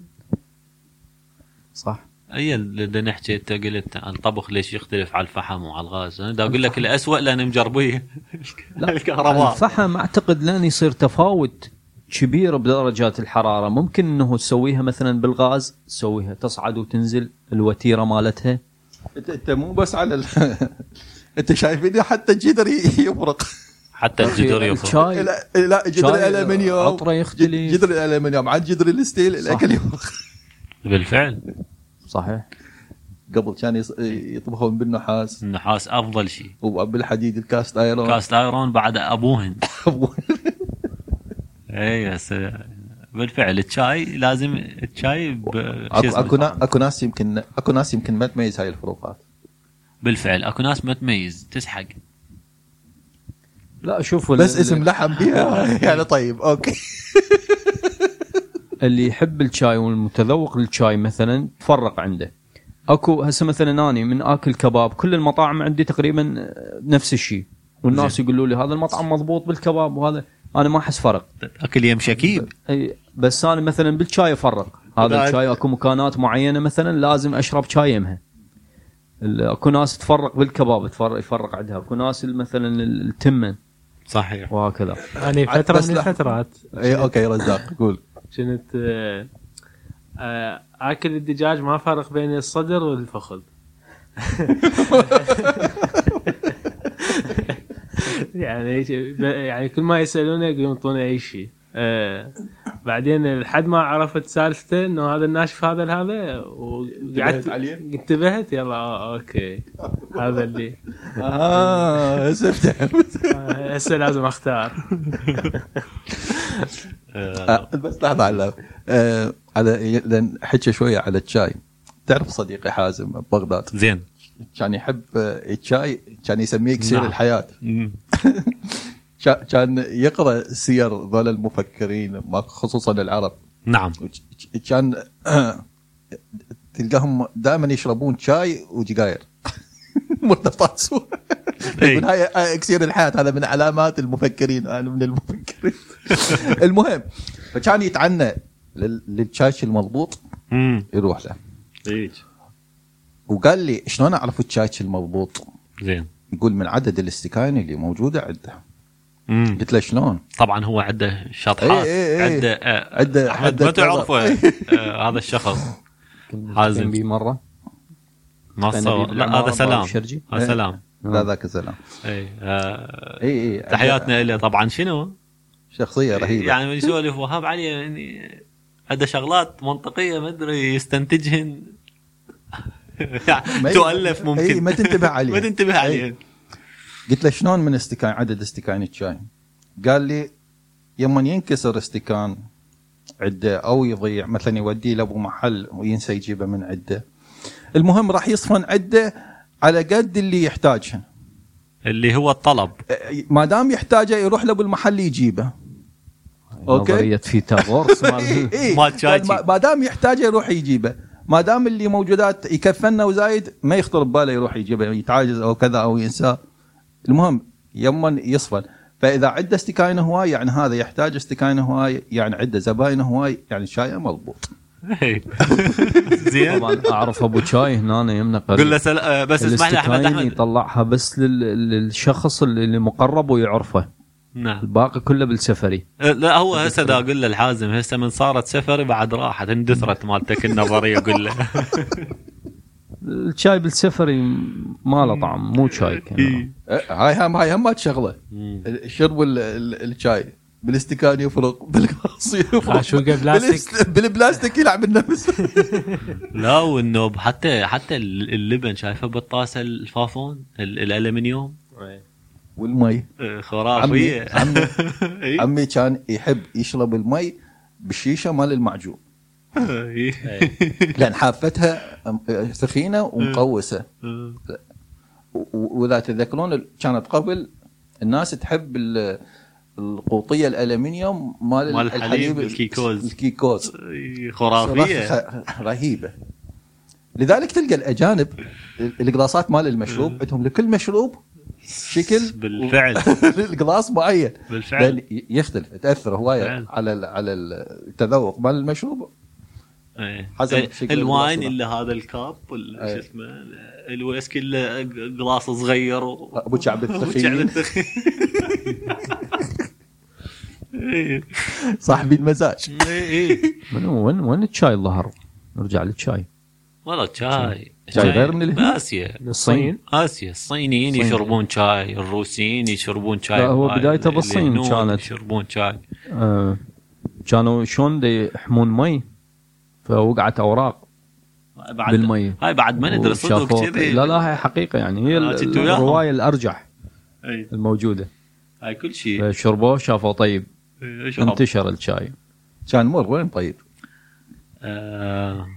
Speaker 4: صح
Speaker 2: اي اللي دا نحكي انت قلت الطبخ ليش يختلف على الفحم وعلى الغاز انا دا اقول لك الاسوء لان مجربيه
Speaker 4: لا،
Speaker 2: الكهرباء
Speaker 4: الفحم اعتقد لان يصير تفاوت كبير بدرجات الحراره ممكن انه تسويها مثلا بالغاز تسويها تصعد وتنزل الوتيره مالتها
Speaker 1: انت انت مو بس على ال... انت شايفيني حتى الجدر ي- يبرق
Speaker 2: حتى الجدر يفرق
Speaker 4: الشاي
Speaker 1: لا, لا جدر
Speaker 4: شاي
Speaker 1: الالمنيوم
Speaker 4: عطره يختلف.
Speaker 1: جدر الالمنيوم عن جدر الستيل
Speaker 4: صح.
Speaker 1: الاكل يبرق
Speaker 2: بالفعل
Speaker 4: صحيح
Speaker 1: قبل كان يص-
Speaker 4: إيه.
Speaker 1: يطبخون بالنحاس
Speaker 2: النحاس افضل شيء
Speaker 1: وبالحديد الكاست ايرون
Speaker 2: كاست ايرون بعد ابوهن اي إيه، بس بالفعل الشاي لازم الشاي ب... شو
Speaker 1: اكو
Speaker 2: اسمه
Speaker 1: اكو, نا-
Speaker 2: طبعاً.
Speaker 1: أكو ناس يمكن اكو ناس يمكن ما تميز هاي الفروقات
Speaker 2: بالفعل اكو ناس ما تميز تسحق
Speaker 4: لا شوفوا
Speaker 1: بس
Speaker 4: ال-
Speaker 1: اسم لحم بيها يعني طيب اوكي
Speaker 4: اللي يحب الشاي والمتذوق للشاي مثلا تفرق عنده اكو هسه مثلا اني من اكل كباب كل المطاعم عندي تقريبا آه، نفس الشيء والناس يقولوا لي هذا المطعم مضبوط بالكباب وهذا انا ما احس فرق
Speaker 2: اكل يم شكيب
Speaker 4: أي بس انا مثلا بالشاي افرق
Speaker 2: بعد.
Speaker 4: هذا الشاي اكو مكانات معينه مثلا لازم اشرب شاي يمها ال- اكو ناس تفرق بالكباب تفرق يفرق عندها اكو ناس مثلا ال- التمن
Speaker 2: صحيح
Speaker 4: وهكذا
Speaker 5: انا فتره
Speaker 1: بس
Speaker 5: يعني من
Speaker 1: لحظة.
Speaker 5: الفترات
Speaker 1: إيه، اوكي رزاق قول
Speaker 5: كنت آه، آه، اكل الدجاج ما فرق بين الصدر والفخذ يعني يعني كل ما يسالونه يقولون يعطونا اي شيء آه، بعدين لحد ما عرفت سالفته انه هذا الناشف هذا لهذا وقعدت
Speaker 1: انتبهت عليه؟
Speaker 5: انتبهت يلا آه، اوكي هذا اللي
Speaker 1: اه هسه فهمت.
Speaker 5: آه، هسه لازم اختار
Speaker 1: آه، بس لحظه على آه، على لان حكي شويه على الشاي تعرف صديقي حازم ببغداد
Speaker 2: زين
Speaker 1: كان يحب آه، الشاي كان يسميه كسير
Speaker 2: نعم.
Speaker 1: الحياه
Speaker 2: مم.
Speaker 1: كا- كان يقرا سير ذول المفكرين ما- خصوصا العرب
Speaker 2: نعم
Speaker 1: وج- ج- كان آه، تلقاهم دائما يشربون شاي وجقاير مرتبطات سوى
Speaker 2: إي.
Speaker 1: يقول هاي هاي اكسير الحياه هذا من علامات المفكرين انا من المفكرين المهم فكان يتعنى لل- للشاش المضبوط
Speaker 2: مم.
Speaker 1: يروح له وقال لي شلون اعرف الشاش المضبوط؟
Speaker 2: زين
Speaker 1: يقول من عدد الاستكاين اللي موجوده عنده
Speaker 2: مم.
Speaker 1: قلت له شلون؟
Speaker 2: طبعا هو عنده شطحات
Speaker 1: إي إي إي.
Speaker 2: عنده آه،
Speaker 1: عنده-
Speaker 2: احمد
Speaker 1: عنده
Speaker 2: ما تعرفه
Speaker 1: نظر.
Speaker 2: آه، هذا الشخص حازم.
Speaker 4: حازم بي مره كان
Speaker 2: نصر
Speaker 4: أبي
Speaker 2: لا
Speaker 4: بالعمارة
Speaker 2: هذا سلام
Speaker 4: بالشرجي.
Speaker 1: إيه.
Speaker 2: هذا سلام
Speaker 1: لا ذاك الزلام
Speaker 2: اي آه،
Speaker 1: اي اي
Speaker 2: تحياتنا له طبعا شنو؟
Speaker 1: شخصيه رهيبه
Speaker 2: يعني من يسولف وهاب علي يعني عنده شغلات منطقيه ما ادري يستنتجهن
Speaker 1: ما-
Speaker 2: تؤلف ممكن
Speaker 1: إي، ما تنتبه عليه. إيه.
Speaker 2: ما تنتبه عليه
Speaker 1: إي. قلت له شلون من استكان عدد استكان الشاي؟ قال لي يوم ينكسر استكان عده او يضيع مثلا يوديه لابو محل وينسى يجيبه من عده. المهم راح يصفن عده على قد اللي يحتاجها.
Speaker 2: اللي هو الطلب
Speaker 1: ما دام يحتاجه يروح لابو المحل يجيبه. أوكي.
Speaker 4: نظريه فيثاغورس
Speaker 1: إي،
Speaker 4: مال-
Speaker 1: إي.
Speaker 2: مال تشايتشي.
Speaker 1: قال إيه، طيب، ما ما دام يحتاجه يروح يجيبه. ما دام اللي موجودات يكفنا وزايد ما يخطر بباله يروح يجيبه يتعاجز او كذا او ينسى. المهم يمن يصفن فاذا عنده استكاين هواي يعني هذا يحتاج استكاين هواي يعني عنده زباين هواي يعني شايع مضبوط.
Speaker 2: إي. زين
Speaker 4: طبعا اعرف ابو شاي هنا يمنا قريب
Speaker 2: قل له سل... آه، بس اسمح لي احمد
Speaker 4: الاستكاين
Speaker 2: احمد
Speaker 4: يطلعها بس لل- للشخص اللي اللي مقرب ويعرفه
Speaker 2: نعم
Speaker 4: الباقي كله بالسفري
Speaker 2: آه، لا هو هسه دا اقول له الحازم هسه من صارت سفري بعد راحت اندثرت مالتك النظريه قل له
Speaker 4: الشاي بالسفري ما له طعم مو شاي
Speaker 2: إيه.
Speaker 4: كان
Speaker 1: أه، هاي هم هاي هم شغله شرب ال- ال- الشاي بالاستكان يفرق بالقاص يفرق
Speaker 5: عاشوقة بلاستيك.
Speaker 1: بالست- بالبلاستيك يلعب النفس
Speaker 2: لا والنوب حتى حتى اللبن شايفه بالطاسه الفافون ال- الالمنيوم
Speaker 5: إيه.
Speaker 1: والمي
Speaker 2: آه،
Speaker 1: عمي
Speaker 2: خرافيه
Speaker 1: عمي
Speaker 2: إي.
Speaker 1: عمي كان يحب يشرب المي بالشيشه مال المعجون
Speaker 2: إي.
Speaker 1: لان حافتها أم- ثخينه ومقوسه
Speaker 2: إيه.
Speaker 1: و- واذا تذكرون ال- كانت قبل الناس تحب ال- القوطيه الالمنيوم مال,
Speaker 2: مال
Speaker 1: ال-
Speaker 2: الحليب الكيكوز.
Speaker 1: الكيكوز
Speaker 2: إي، خرافيه
Speaker 1: صراحة رهيبه لذلك تلقى الاجانب ال- القلاصات مال المشروب عندهم لكل مشروب شكل
Speaker 2: إيه. بالفعل
Speaker 1: القلاص معين
Speaker 2: بالفعل
Speaker 1: لان ي- يختلف تاثر هوايه
Speaker 2: فعل.
Speaker 1: على ال- على التذوق مال المشروب
Speaker 2: إيه.
Speaker 1: حسب
Speaker 2: إيه.
Speaker 1: شكل
Speaker 2: الواين
Speaker 1: الوصلة.
Speaker 2: الا هذا الكاب ولا
Speaker 1: إيه.
Speaker 2: شو اسمه الويس كله قلاص صغير و-
Speaker 1: ابو شعب
Speaker 2: أبو شعب
Speaker 1: الثخين
Speaker 2: الثخين إيه.
Speaker 1: صاحبي المزاج
Speaker 2: إيه. إيه.
Speaker 4: من وين وين الشاي ظهر؟ نرجع للشاي
Speaker 2: والله شاي
Speaker 1: شاي غير من الهند؟
Speaker 2: اسيا
Speaker 4: الصين
Speaker 2: اسيا الصينيين
Speaker 4: الصين.
Speaker 2: يشربون شاي الروسيين يشربون شاي
Speaker 4: لا، هو
Speaker 2: وايد،
Speaker 4: بدايته بالصين
Speaker 2: اليونان
Speaker 4: كانت.
Speaker 2: يشربون شاي
Speaker 4: آه، كانوا شلون دي يحمون مي فوقعت اوراق
Speaker 2: بعد
Speaker 4: بالمي
Speaker 2: هاي بعد ما ندري صدق
Speaker 4: وشافوه-
Speaker 2: كذي
Speaker 4: لا لا هي حقيقه يعني هي
Speaker 2: آه، جيتوا
Speaker 4: ال-
Speaker 2: وياهم.
Speaker 4: الروايه الارجح
Speaker 2: إي.
Speaker 4: الموجوده
Speaker 2: هاي كل شيء
Speaker 4: فشربوه شافوا طيب
Speaker 2: اشرب
Speaker 4: انتشر الشاي
Speaker 1: كان مر وين طيب
Speaker 2: آه،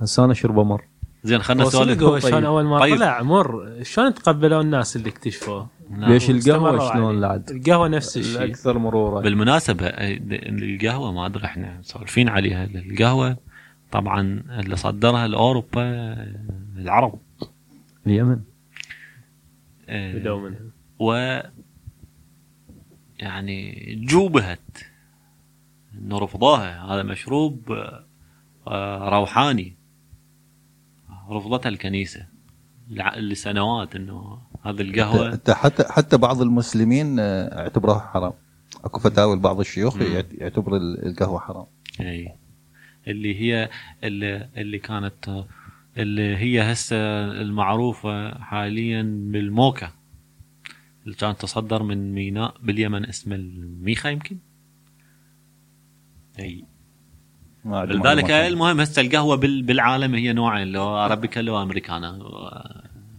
Speaker 4: هسه انا اشربه مر
Speaker 2: زين خلنا
Speaker 5: وصدق
Speaker 2: نسولف
Speaker 5: هو شلون اول ما
Speaker 2: طيب.
Speaker 5: طلع مر شلون تقبلوا الناس اللي اكتشفوه؟
Speaker 2: نعم.
Speaker 4: ليش
Speaker 5: واستمروا
Speaker 4: القهوه
Speaker 5: عليه.
Speaker 4: شلون لعد
Speaker 5: القهوه نفس الشيء
Speaker 4: الاكثر مرورا
Speaker 2: بالمناسبة آه، القهوة ما أدري إحنا مسولفين عليها القهوة طبعا اللي صدرها الأوروبا آه، العرب
Speaker 4: اليمن
Speaker 2: آه،
Speaker 5: بدوا منها
Speaker 2: و يعني جوبهت انه رفضوها هذا مشروب آه، روحاني رفضتها الكنيسه لع- لسنوات انه هذه القهوه
Speaker 1: حتى حتى حتى بعض المسلمين آه، اعتبروها حرام اكو فتاوى لبعض الشيوخ
Speaker 2: مم.
Speaker 1: يعت- يعتبر ال- القهوه حرام
Speaker 2: اي اللي هي اللي, اللي كانت اللي هي هسه المعروفه حاليا بالموكا اللي كانت تصدر من ميناء باليمن اسمه الميخا يمكن اي
Speaker 1: ما عندي
Speaker 2: لذلك
Speaker 1: معلومات.
Speaker 2: المهم هسه القهوه بال- بالعالم هي نوعين لو عربيكا لو امريكانا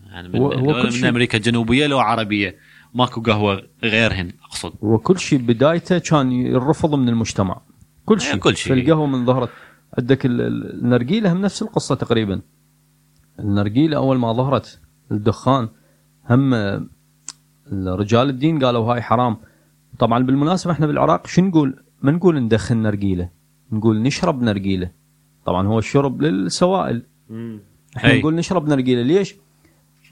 Speaker 2: يعني من,
Speaker 4: هو- هو
Speaker 2: لو
Speaker 4: كل
Speaker 2: من
Speaker 4: شيء.
Speaker 2: امريكا الجنوبيه لو عربيه ماكو قهوه غيرهن اقصد
Speaker 4: وكل شيء بدايته كان يرفض من المجتمع كل شيء
Speaker 2: إيه، كل شيء.
Speaker 4: فالقهوه من ظهرت عندك ال- ال- النرجيله هم نفس القصه تقريبا النرجيله اول ما ظهرت الدخان هم آه، رجال الدين قالوا هاي حرام طبعا بالمناسبه احنا بالعراق شو نقول ما نقول ندخن نرجيله نقول نشرب نرجيله طبعا هو الشرب للسوائل
Speaker 5: مم.
Speaker 4: احنا
Speaker 2: أي.
Speaker 4: نقول نشرب نرجيله ليش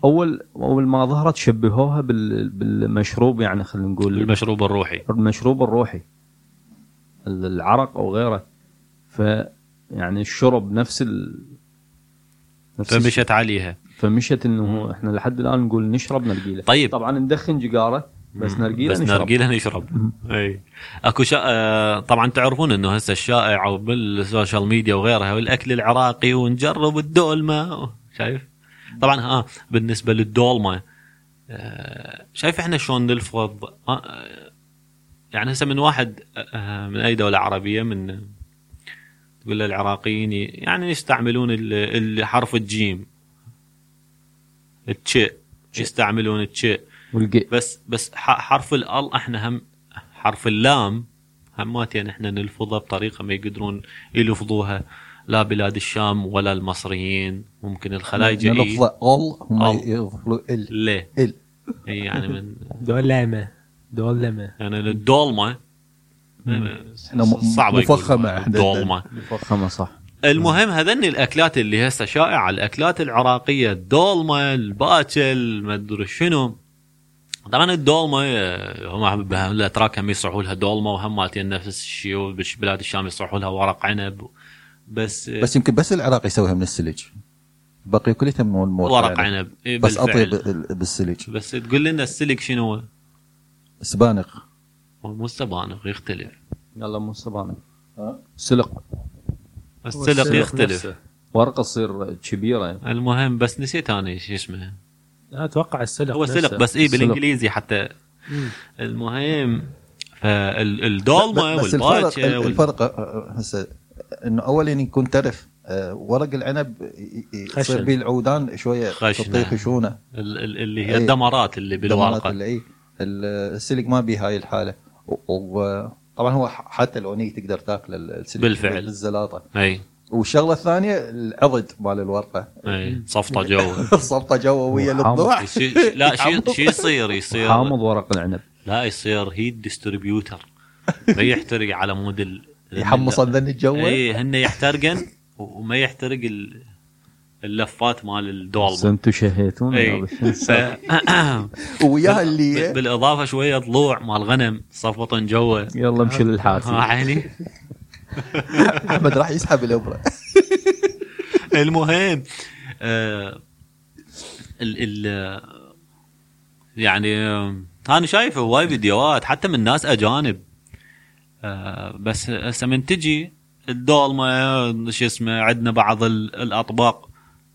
Speaker 4: اول اول ما ظهرت شبهوها بال- بالمشروب يعني خلينا نقول
Speaker 2: المشروب الروحي
Speaker 4: المشروب الروحي ال- العرق او غيره ف يعني الشرب نفس ال نفس الشيء.
Speaker 2: فمشت عليها
Speaker 4: فمشت انه احنا لحد الان نقول نشرب نرجيله
Speaker 2: طيب.
Speaker 4: طبعا ندخن جيجاره بس نرجيلة
Speaker 2: بس
Speaker 4: نشرب.
Speaker 2: نرجيلة نشرب اي اكو شا... آه، طبعا تعرفون انه هسه الشائع وبالسوشيال ميديا وغيرها والاكل العراقي ونجرب الدولمه شايف طبعا ها بالنسبه للدولمه آه، شايف احنا شلون نلفظ آه، آه، يعني هسه من واحد آه، من اي دوله عربيه من تقول له العراقيين ي- يعني يستعملون ال- ال- حرف الجيم التشاء يستعملون التشاء
Speaker 4: والقي
Speaker 2: بس بس ح- حرف الال احنا هم حرف اللام هماتين احنا نلفظها بطريقه ما يقدرون يلفظوها لا بلاد الشام ولا المصريين ممكن الخلايجه
Speaker 1: نلفظه ال هم
Speaker 2: أل.
Speaker 1: يغفلوا ال
Speaker 2: ليه؟
Speaker 1: ال
Speaker 2: إي يعني من
Speaker 5: دولمة دولمة
Speaker 2: يعني الدولمه
Speaker 1: إحنا م-
Speaker 2: صعبه يقول
Speaker 1: مفخمة إحنا.
Speaker 2: الدولمه
Speaker 4: مفخمة صح
Speaker 2: المهم هذني الاكلات اللي هسه شائعه الاكلات العراقيه الدولمه الباكل ما ادري شنو طبعا الدولمه آه، هم بها- الاتراك هم يصرحوا لها دولمه وهم مالتين نفس الشيء وبلاد الشام يصرحوا لها ورق عنب بس, بس
Speaker 1: بس يمكن بس العراق يسويها من السلج البقيه كلها من الموت
Speaker 2: ورق عنب إي
Speaker 1: يعني. بس اطيب
Speaker 2: بالفعل.
Speaker 1: بال- بالسلج
Speaker 2: بس تقول لنا السلك شنو هو؟
Speaker 1: سبانخ
Speaker 2: هو مو السبانخ يختلف
Speaker 4: يلا مو صبانة سلق
Speaker 2: السلق يختلف
Speaker 4: ورقة تصير كبيرة
Speaker 2: المهم بس نسيت انا شو اسمه
Speaker 5: لا اتوقع السلق
Speaker 2: هو
Speaker 5: نفسه.
Speaker 2: سلق بس اي
Speaker 4: سلق.
Speaker 2: بالانجليزي حتى
Speaker 5: مم.
Speaker 2: المهم فالدولمه
Speaker 1: بس الفرق
Speaker 2: والباجه وال-
Speaker 1: الفرق آه، هسه انه اولا يكون ترف آه، ورق العنب ي- ي- يصير
Speaker 5: خشن.
Speaker 1: به العودان شويه
Speaker 2: خشنة.
Speaker 1: تطيح خشونه
Speaker 2: ال- ال- اللي هي
Speaker 1: أي.
Speaker 2: الدمرات اللي
Speaker 1: دمارات
Speaker 2: بالورقه
Speaker 1: إيه. اللي- إي. ال- السلك ما به هاي الحاله وطبعا هو ح- حتى لو ني تقدر تاكل ال- السلك
Speaker 2: بالفعل.
Speaker 1: بالزلاطه
Speaker 2: اي
Speaker 1: والشغله الثانيه العضد مال الورقه
Speaker 2: اي صفطه جو
Speaker 1: سلطه جويه
Speaker 4: وحامض.
Speaker 1: للضوء
Speaker 2: شي- شي- لا شو شو يصير يصير
Speaker 4: حامض ورق العنب
Speaker 2: لا يصير هي الديستريبيوتر ما يحترق على مود ال
Speaker 1: يحمص الذن الجوي
Speaker 2: اي هن يحترقن وما يحترق ال- اللفات مال الدولمه
Speaker 4: انتم شهيتون
Speaker 2: اي ف-
Speaker 1: وياها
Speaker 2: بال-
Speaker 1: اللي
Speaker 2: بالاضافه شويه ضلوع مال غنم صفطن جوا
Speaker 4: يلا
Speaker 2: ها
Speaker 4: امشي للحافي
Speaker 2: آه، عيني
Speaker 1: احمد راح يسحب الابره
Speaker 2: المهم آه ال ال يعني آه، انا شايف هواي فيديوهات حتى من ناس اجانب آه بس هسه من تجي الدولمه شو اسمه عندنا بعض ال- الاطباق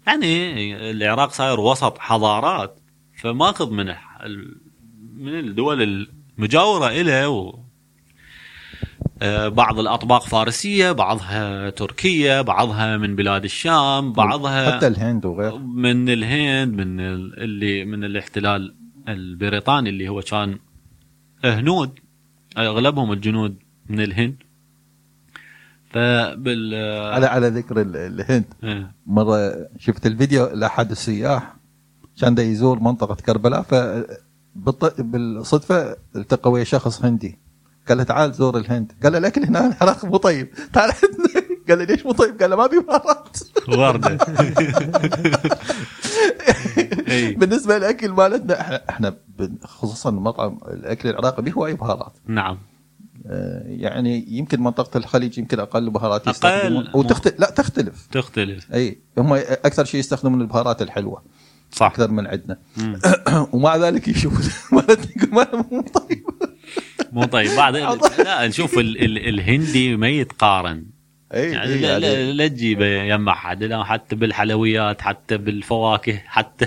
Speaker 2: يعني العراق صاير وسط حضارات فماخذ من الح- ال- من الدول المجاوره له و آه، بعض الاطباق فارسيه بعضها تركيه بعضها من بلاد الشام بعضها
Speaker 1: حتى الهند وغيره
Speaker 2: من الهند من ال- اللي من الاحتلال البريطاني اللي هو كان هنود اغلبهم الجنود من الهند فبال
Speaker 1: على على ذكر ال- الهند
Speaker 2: آه،
Speaker 1: مره شفت الفيديو لاحد السياح كان دا يزور منطقه كربلاء ف بالط- بالصدفه التقى ويا شخص هندي قال له تعال زور الهند قال له الاكل هنا العراق مو طيب تعال عندنا قال له ليش مو طيب قال له ما بمهارات
Speaker 2: ورده اي
Speaker 1: بالنسبه للاكل مالتنا احنا احنا بن- خصوصا مطعم الاكل العراقي به هواي بهارات
Speaker 2: نعم
Speaker 1: آه، يعني يمكن منطقه الخليج يمكن اقل بهارات
Speaker 2: أقل.
Speaker 1: يستخدمون وتختلف لا تختلف
Speaker 2: تختلف
Speaker 1: اي هم اكثر شيء يستخدمون البهارات الحلوه
Speaker 2: صح
Speaker 1: اكثر من عندنا
Speaker 2: مم.
Speaker 1: ومع ذلك يشوف مالتنا ما- مو طيب
Speaker 2: مو طيب بعد لا نشوف ال... ال... الهندي ما يتقارن
Speaker 1: اي
Speaker 2: يعني
Speaker 1: إي،
Speaker 2: لا,
Speaker 1: يعني
Speaker 2: لا, لا تجيبه يم احد لا حتى بالحلويات حتى بالفواكه حتى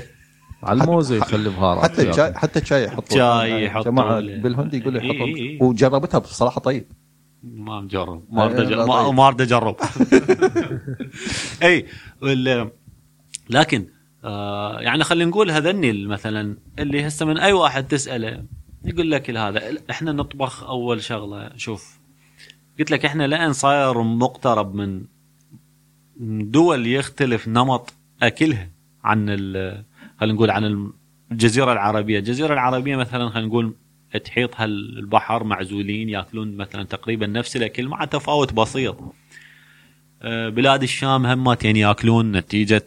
Speaker 4: على الموز يخلي بهارات
Speaker 1: حتى الشاي حتى الشاي يحطون
Speaker 2: الشاي إيه.
Speaker 1: يعني
Speaker 2: يحطون.
Speaker 1: جماعه بالهند يقول
Speaker 2: إي،
Speaker 1: يحطون
Speaker 2: إي، إي.
Speaker 1: وجربتها بصراحه طيب
Speaker 2: ما مجرب ما
Speaker 1: لا،
Speaker 2: ارد
Speaker 1: لا،
Speaker 2: أجرب- ما-
Speaker 1: طيب.
Speaker 2: ما ارد اجرب اي وال- لكن آه يعني خلينا نقول هذني مثلا اللي هسه من اي واحد تساله يقول لك هذا احنا نطبخ اول شغله شوف قلت لك احنا لان صاير مقترب من دول يختلف نمط اكلها عن ال- خلينا نقول عن الجزيره العربيه، الجزيره العربيه مثلا خلينا نقول تحيطها البحر معزولين ياكلون مثلا تقريبا نفس الاكل مع تفاوت بسيط. آه، بلاد الشام هماتين ياكلون نتيجه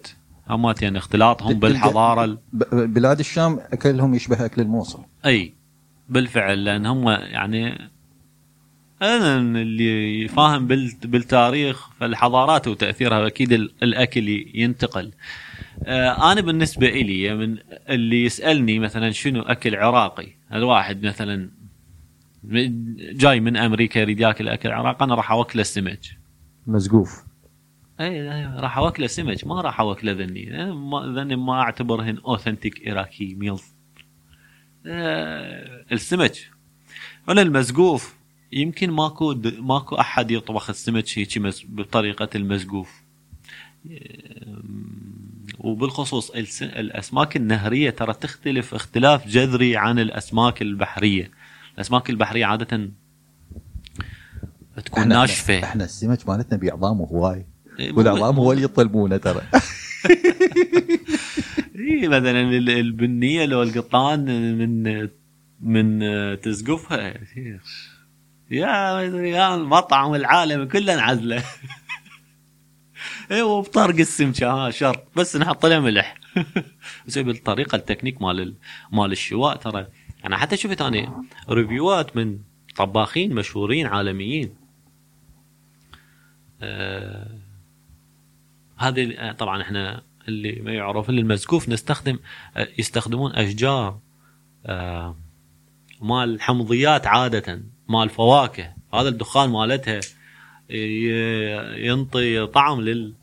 Speaker 2: هماتين اختلاطهم
Speaker 1: تلقى-
Speaker 2: بالحضاره ال-
Speaker 1: ب- بلاد الشام اكلهم يشبه اكل الموصل
Speaker 2: اي بالفعل لان هم يعني انا اللي فاهم بال- بالتاريخ فالحضارات وتاثيرها اكيد ال- الاكل ي- ينتقل آه، انا بالنسبه الي من اللي يسالني مثلا شنو اكل عراقي هذا واحد مثلا من- جاي من امريكا يريد ياكل اكل عراقي انا راح اوكله سمك
Speaker 4: مزقوف
Speaker 2: اي لا، إيه، راح اوكله سمك ما راح اوكله ذني أنا ما- ذني ما اعتبرهن اوثنتيك اراكي ميلز آه، السمك ولا المسقوف يمكن ماكو د- ماكو احد يطبخ السمك هيك مس- بطريقه المسقوف إيه، وبالخصوص الس- الاسماك النهريه ترى تختلف اختلاف جذري عن الاسماك البحريه الاسماك البحريه عاده تكون
Speaker 1: إحنا-
Speaker 2: ناشفه
Speaker 1: احنا السمك مالتنا بعظام هواي
Speaker 2: إيه، مو-
Speaker 1: والعظام هو اللي يطلبونه ترى
Speaker 2: اي مثلا إيه، ال- البنيه لو القطان من من تسقفها يا مدري يا المطعم العالم كله انعزله اي وبطرق السمكه ها شرط بس نحط لها ملح بس بالطريقه التكنيك مال ال- مال الشواء ترى انا حتى شفت انا ريفيوات من طباخين مشهورين عالميين آه، هذه آه، طبعا احنا اللي ما يعرف اللي المزقوف نستخدم آه، يستخدمون اشجار آه، مال حمضيات عاده مال فواكه هذا الدخان مالتها ي- ينطي طعم لل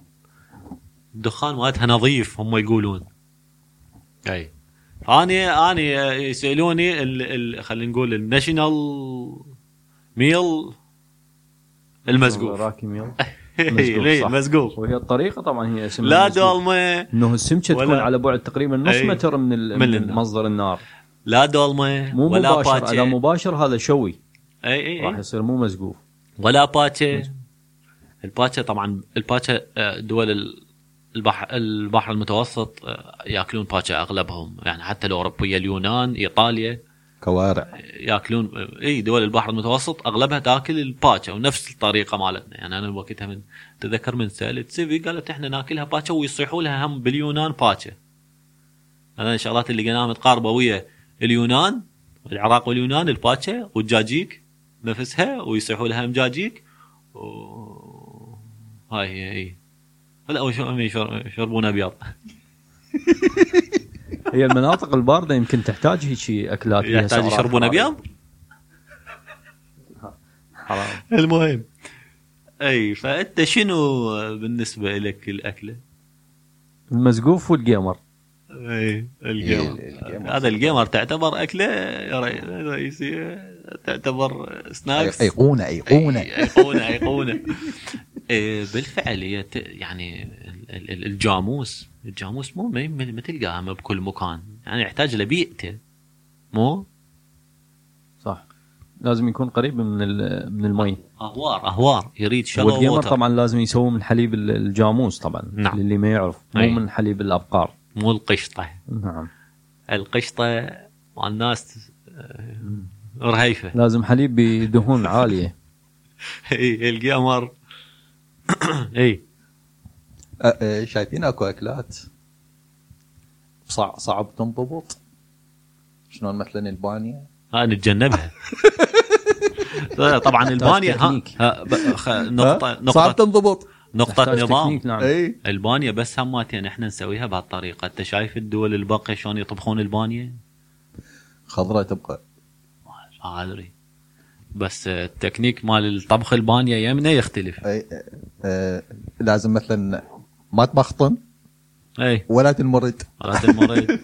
Speaker 2: الدخان مالتها نظيف هم يقولون اي فاني اني آه، يسالوني ال... ال... خلينا نقول الناشونال ميل المزقوف
Speaker 4: راكم يلا مسقوف،
Speaker 2: ليه؟
Speaker 4: صح.
Speaker 2: مسقوف
Speaker 4: وهي الطريقه طبعا هي اسمها
Speaker 2: لا
Speaker 4: مسقوف.
Speaker 2: دولمه
Speaker 4: انه السمكه
Speaker 2: ولا-
Speaker 4: تكون على بعد تقريبا نص
Speaker 2: أي.
Speaker 4: متر من, ال-
Speaker 2: من
Speaker 4: من
Speaker 2: النار.
Speaker 4: مصدر النار
Speaker 2: لا دولمه
Speaker 4: مو
Speaker 2: ولا إيه.
Speaker 4: مباشر اذا
Speaker 2: باتشي
Speaker 4: مباشر هذا شوي
Speaker 2: اي اي,
Speaker 4: راح
Speaker 2: أي.
Speaker 4: يصير مو مسقوف
Speaker 2: ولا باتشي الباتشا طبعا الباتشا آه، دول ال- البحر البحر المتوسط آه، ياكلون باتشا اغلبهم يعني حتى الاوروبيه اليونان ايطاليا
Speaker 1: كوارع
Speaker 2: ياكلون اي دول البحر المتوسط اغلبها تاكل الباتشا ونفس الطريقه مالتنا يعني انا وقتها من تذكر من سالت سيفي قالت احنا ناكلها باتشا ويصيحوا لها هم باليونان باتشا هذا الشغلات اللي قناها متقاربه ويا اليونان العراق واليونان الباتشا والدجاجيك نفسها ويصيحوا لها هم دجاجيك و... هاي هي هي لا وشو- يشربون ابيض
Speaker 4: هي المناطق البارده يمكن تحتاج هيك اكلات فيها
Speaker 2: يحتاج
Speaker 4: سعرات
Speaker 2: يشربون
Speaker 4: حرارية.
Speaker 2: ابيض
Speaker 4: حرام
Speaker 2: المهم اي فانت شنو بالنسبه لك الاكله؟
Speaker 4: المسقوف والجيمر
Speaker 2: اي
Speaker 1: إيه،
Speaker 2: الجيمر
Speaker 1: الجيمر.
Speaker 2: هذا الجيمر تعتبر اكله يا ري- رئيسيه تعتبر سناكس
Speaker 1: ايقونه ايقونه
Speaker 2: أي- ايقونه ايقونه إيه، بالفعل هي ت- يعني ال- ال- الجاموس الجاموس مو ما- ما ما تلقاها بكل مكان يعني يحتاج لبيئته مو
Speaker 4: صح لازم يكون قريب من ال- من المي
Speaker 2: اهوار اهوار يريد شلو
Speaker 4: والجيمر
Speaker 2: ووتر
Speaker 4: طبعا لازم يسووه من حليب ال- الجاموس طبعا
Speaker 2: نعم.
Speaker 4: للي ما يعرف مو
Speaker 2: أي.
Speaker 4: من حليب الابقار
Speaker 2: مو القشطه
Speaker 4: نعم
Speaker 2: القشطه مع الناس آه، رهيفه
Speaker 4: لازم حليب بدهون عاليه
Speaker 2: اي القمر اي
Speaker 1: أ- أ- شايفين اكو اكلات صعب صعب تنضبط شلون مثلا البانيه
Speaker 2: ها نتجنبها طبعا البانيا ها,
Speaker 4: تكنيك.
Speaker 2: ها ب- خ- نقطه
Speaker 1: ها؟ صعب
Speaker 2: نقطه
Speaker 1: تنضبط
Speaker 2: نقطه
Speaker 4: تحتاج
Speaker 2: نظام
Speaker 4: تكنيك، نعم
Speaker 1: اي
Speaker 2: البانيا بس هماتين احنا نسويها بهالطريقه انت شايف الدول الباقيه شلون يطبخون البانيا؟
Speaker 1: خضره تبقى
Speaker 2: ما ادري بس التكنيك مال الطبخ البانيا يمنا يختلف
Speaker 1: أي. أ- أ- لازم مثلا ما تبخطن
Speaker 2: اي
Speaker 1: ولا تنمرد
Speaker 2: مرات المريض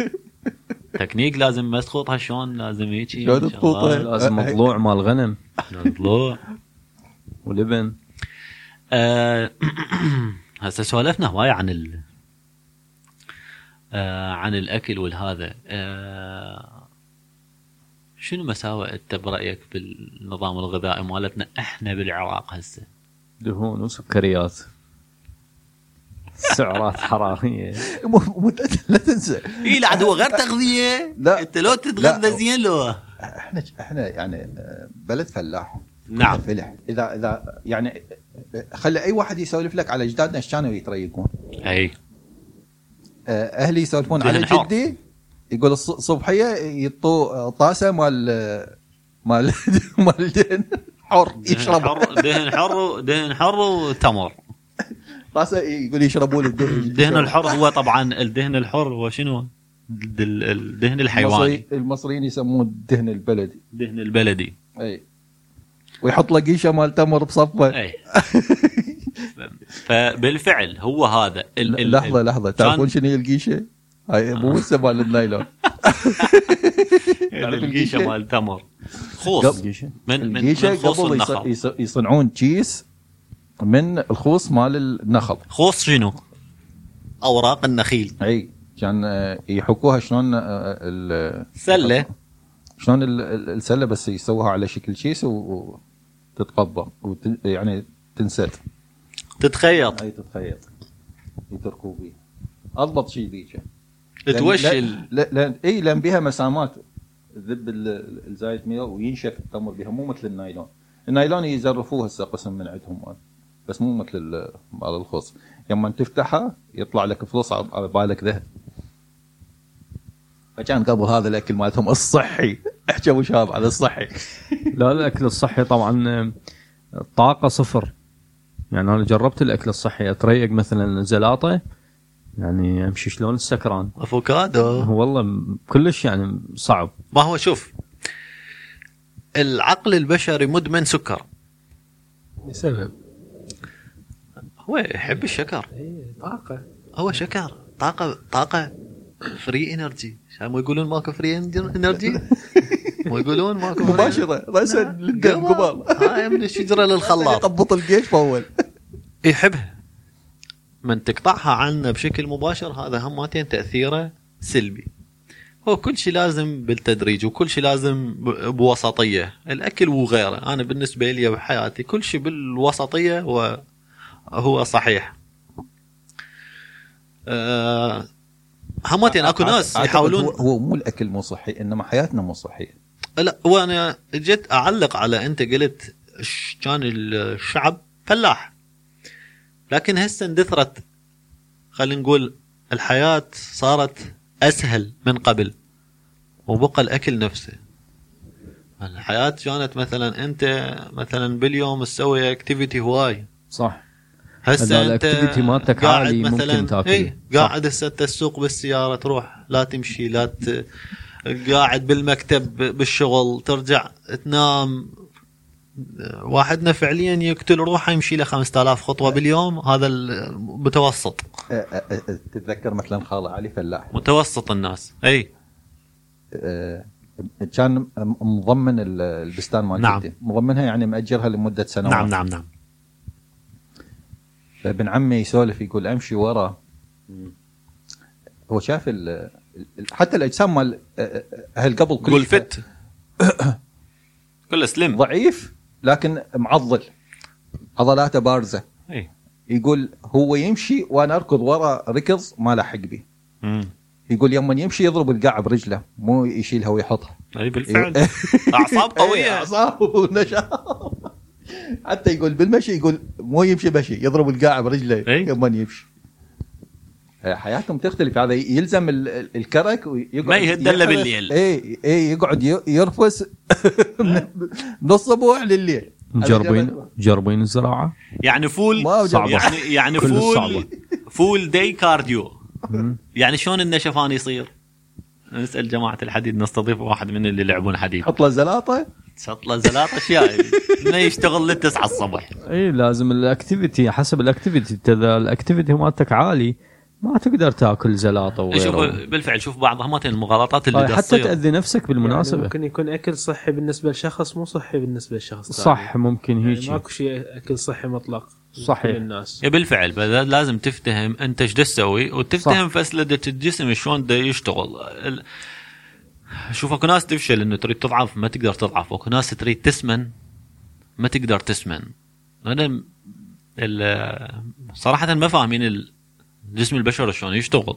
Speaker 2: تكنيك لازم ما تخوطها شلون لازم هيك
Speaker 1: شلون تخوطها؟
Speaker 4: لازم
Speaker 1: أي.
Speaker 4: مضلوع مال غنم
Speaker 2: نطلع
Speaker 4: ولبن
Speaker 2: آه، هسه سولفنا هواي عن ال آه، عن الاكل والهذا آه، شنو مساوئ انت برايك بالنظام الغذائي مالتنا احنا بالعراق هسه؟
Speaker 4: دهون وسكريات سعرات حراريه
Speaker 1: مو- مو- لا تنسى
Speaker 2: اي إيه، لا عاد هو غير تغذيه
Speaker 1: لا.
Speaker 2: انت لو
Speaker 1: تتغذى لا.
Speaker 2: زين لو
Speaker 1: احنا احنا يعني أ، بلد فلاح
Speaker 2: نعم.
Speaker 1: فلح اذا اذا يعني أ، خلي اي واحد يسولف لك على اجدادنا ايش كانوا يتريقون
Speaker 2: اي
Speaker 1: آه، اهلي يسولفون على
Speaker 2: دهن حار.
Speaker 1: جدي يقول الص- الصبحيه يطو طاسه مال مال مال دهن حر
Speaker 2: دهن
Speaker 1: يشرب
Speaker 2: حر دهن حر دهن حر وتمر
Speaker 1: راسه يقول يشربون الدهن
Speaker 2: الدهن الحر هو طبعا الدهن الحر هو شنو؟ الد- الدهن الحيواني
Speaker 1: المصري- المصريين يسموه الدهن البلدي
Speaker 2: الدهن البلدي
Speaker 1: اي ويحط له قيشه مال تمر بصفه
Speaker 2: اي فبالفعل هو هذا ال- ال-
Speaker 1: لحظه لحظه
Speaker 2: كان-
Speaker 1: تعرفون شنو هي القيشه؟ هاي مو هسه مال النايلون تعرف
Speaker 2: القيشه
Speaker 1: القيشة؟
Speaker 2: يعني مال تمر خوص
Speaker 1: قبل-
Speaker 2: من- من-
Speaker 1: القيشه
Speaker 2: من خوص
Speaker 1: قبل يص-
Speaker 2: النخل.
Speaker 1: يص- يصنعون كيس من الخوص مال النخل
Speaker 2: خوص شنو؟ اوراق النخيل
Speaker 1: اي كان آه، يحكوها شلون آه، ال-
Speaker 2: سله
Speaker 1: شلون ال- ال- السله بس يسووها على شكل شيس و- وتتقبض وت- يعني تنسد
Speaker 2: تتخيط
Speaker 1: هاي تتخيط يتركوا بيها اضبط شيء ذيك لأن-
Speaker 2: توشل
Speaker 1: لا لا اي لان بها مسامات ذب ال- الزايد مياه وينشف التمر بها مو مثل النايلون النايلون يزرفوه هسه قسم من عندهم بس مو مثل ال- مال الخص لما تفتحها يطلع لك فلوس على على بالك ذهب فكان قبل هذا الاكل مالتهم الصحي احكي ابو شهاب على الصحي
Speaker 4: لا الاكل الصحي طبعا آه، الطاقه صفر يعني انا جربت الاكل الصحي اتريق مثلا زلاطه يعني امشي شلون السكران
Speaker 2: افوكادو
Speaker 4: والله م- كلش يعني صعب
Speaker 2: ما هو شوف العقل البشري مدمن سكر
Speaker 5: لسبب
Speaker 2: هو يحب الشكر
Speaker 5: إيه، طاقه
Speaker 2: هو شكر طاقه طاقه فري انرجي مو يقولون ماكو فري انرجي مو يقولون ماكو free-
Speaker 1: مباشره راسا للدم قبل
Speaker 2: هاي من الشجره للخلاط
Speaker 1: يطبط الجيش فول
Speaker 2: يحبها إيه، من تقطعها عنا بشكل مباشر هذا همتين تاثيره سلبي هو كل شيء لازم بالتدريج وكل شيء لازم ب- بوسطيه الاكل وغيره انا بالنسبه لي بحياتي كل شيء بالوسطيه هو هو صحيح أه همتين اكو ناس
Speaker 1: أعتقد
Speaker 2: يحاولون
Speaker 1: هو- هو مو الاكل مو صحي انما حياتنا مو صحيه
Speaker 2: لا وانا جيت اعلق على انت قلت ش- كان الشعب فلاح لكن هسه اندثرت خلينا نقول الحياه صارت اسهل من قبل وبقى الاكل نفسه الحياه كانت مثلا انت مثلا باليوم تسوي اكتيفيتي هواي
Speaker 4: صح هذا
Speaker 2: هسه انت
Speaker 4: الactivity مالتك عالي ممكن تاكله.
Speaker 2: اي
Speaker 4: صح.
Speaker 2: إيه، قاعد هسه انت تسوق بالسياره تروح لا تمشي لا ت... قاعد بالمكتب بالشغل ترجع تنام واحدنا فعليا يقتل روحه يمشي له 5000 خطوه باليوم هذا المتوسط
Speaker 1: أ- أ- أ- أه، تتذكر مثلا خاله علي فلاح
Speaker 2: متوسط الناس إيه. اي
Speaker 1: آه، كان م- مضمن ال- البستان مال
Speaker 2: نعم.
Speaker 1: جدي. مضمنها يعني ماجرها لمده سنوات
Speaker 2: نعم نعم نعم
Speaker 1: فابن عمي يسولف يقول امشي ورا هو شاف ال ال- حتى الاجسام مال آه، آه، اهل قبل كلش
Speaker 2: قول فت كله سلم
Speaker 1: ضعيف لكن معضل عضلاته بارزه
Speaker 2: اي
Speaker 1: يقول هو يمشي وانا اركض ورا ركض ما لاحق بي
Speaker 2: مم.
Speaker 1: يقول يوم يمشي يضرب القاع برجله مو يشيلها ويحطها
Speaker 2: اي بالفعل اعصاب
Speaker 1: إيه،
Speaker 2: قويه
Speaker 1: اعصاب ونشاط حتى يقول بالمشي يقول مو يمشي مشي يضرب القاع برجله
Speaker 2: إيه.
Speaker 1: لما يمشي آه، حياتهم تختلف هذا يلزم ال- ال- الكرك ويقعد
Speaker 2: ما يهد إلا بالليل.
Speaker 1: اي اي يقعد ي- يرفس من- من الصبح لليل
Speaker 4: مجربين مجربين الزراعه
Speaker 2: يعني فول
Speaker 1: ما وجد-
Speaker 2: يعني يعني
Speaker 4: كلش
Speaker 2: فول
Speaker 4: صعبة.
Speaker 2: فول داي كارديو
Speaker 4: مم.
Speaker 2: يعني شلون النشفان يصير؟ نسال جماعه الحديد نستضيف واحد من اللي يلعبون حديد
Speaker 1: حط له زلاطه
Speaker 2: شط له زلاطه شاي انه يعني. يشتغل للتسعة الصبح
Speaker 4: اي لازم الاكتيفيتي حسب الاكتيفيتي إنت اذا الاكتيفيتي مالتك عالي ما تقدر تاكل زلاطه
Speaker 2: شوف
Speaker 4: وغيره
Speaker 2: بالفعل شوف بعض همات المغالطات اللي
Speaker 4: هاي
Speaker 2: دا
Speaker 4: حتى
Speaker 2: تصير
Speaker 4: تاذي نفسك
Speaker 5: يعني
Speaker 4: بالمناسبه
Speaker 5: ممكن يكون اكل صحي بالنسبه لشخص مو صحي بالنسبه لشخص ثاني.
Speaker 4: صح ممكن
Speaker 5: يعني
Speaker 4: هيك
Speaker 5: ماكو شيء اكل صحي مطلق
Speaker 4: صحيح.
Speaker 5: للناس
Speaker 2: إيه بالفعل بل- لازم تفتهم انت ايش دا تسوي وتفتهم فسلده الجسم شلون دا يشتغل ال- شوف اكو ناس تفشل انه تريد تضعف ما تقدر تضعف اكو ناس تريد تسمن ما تقدر تسمن انا م- ال- صراحه ما فاهمين ال- جسم البشر شلون يشتغل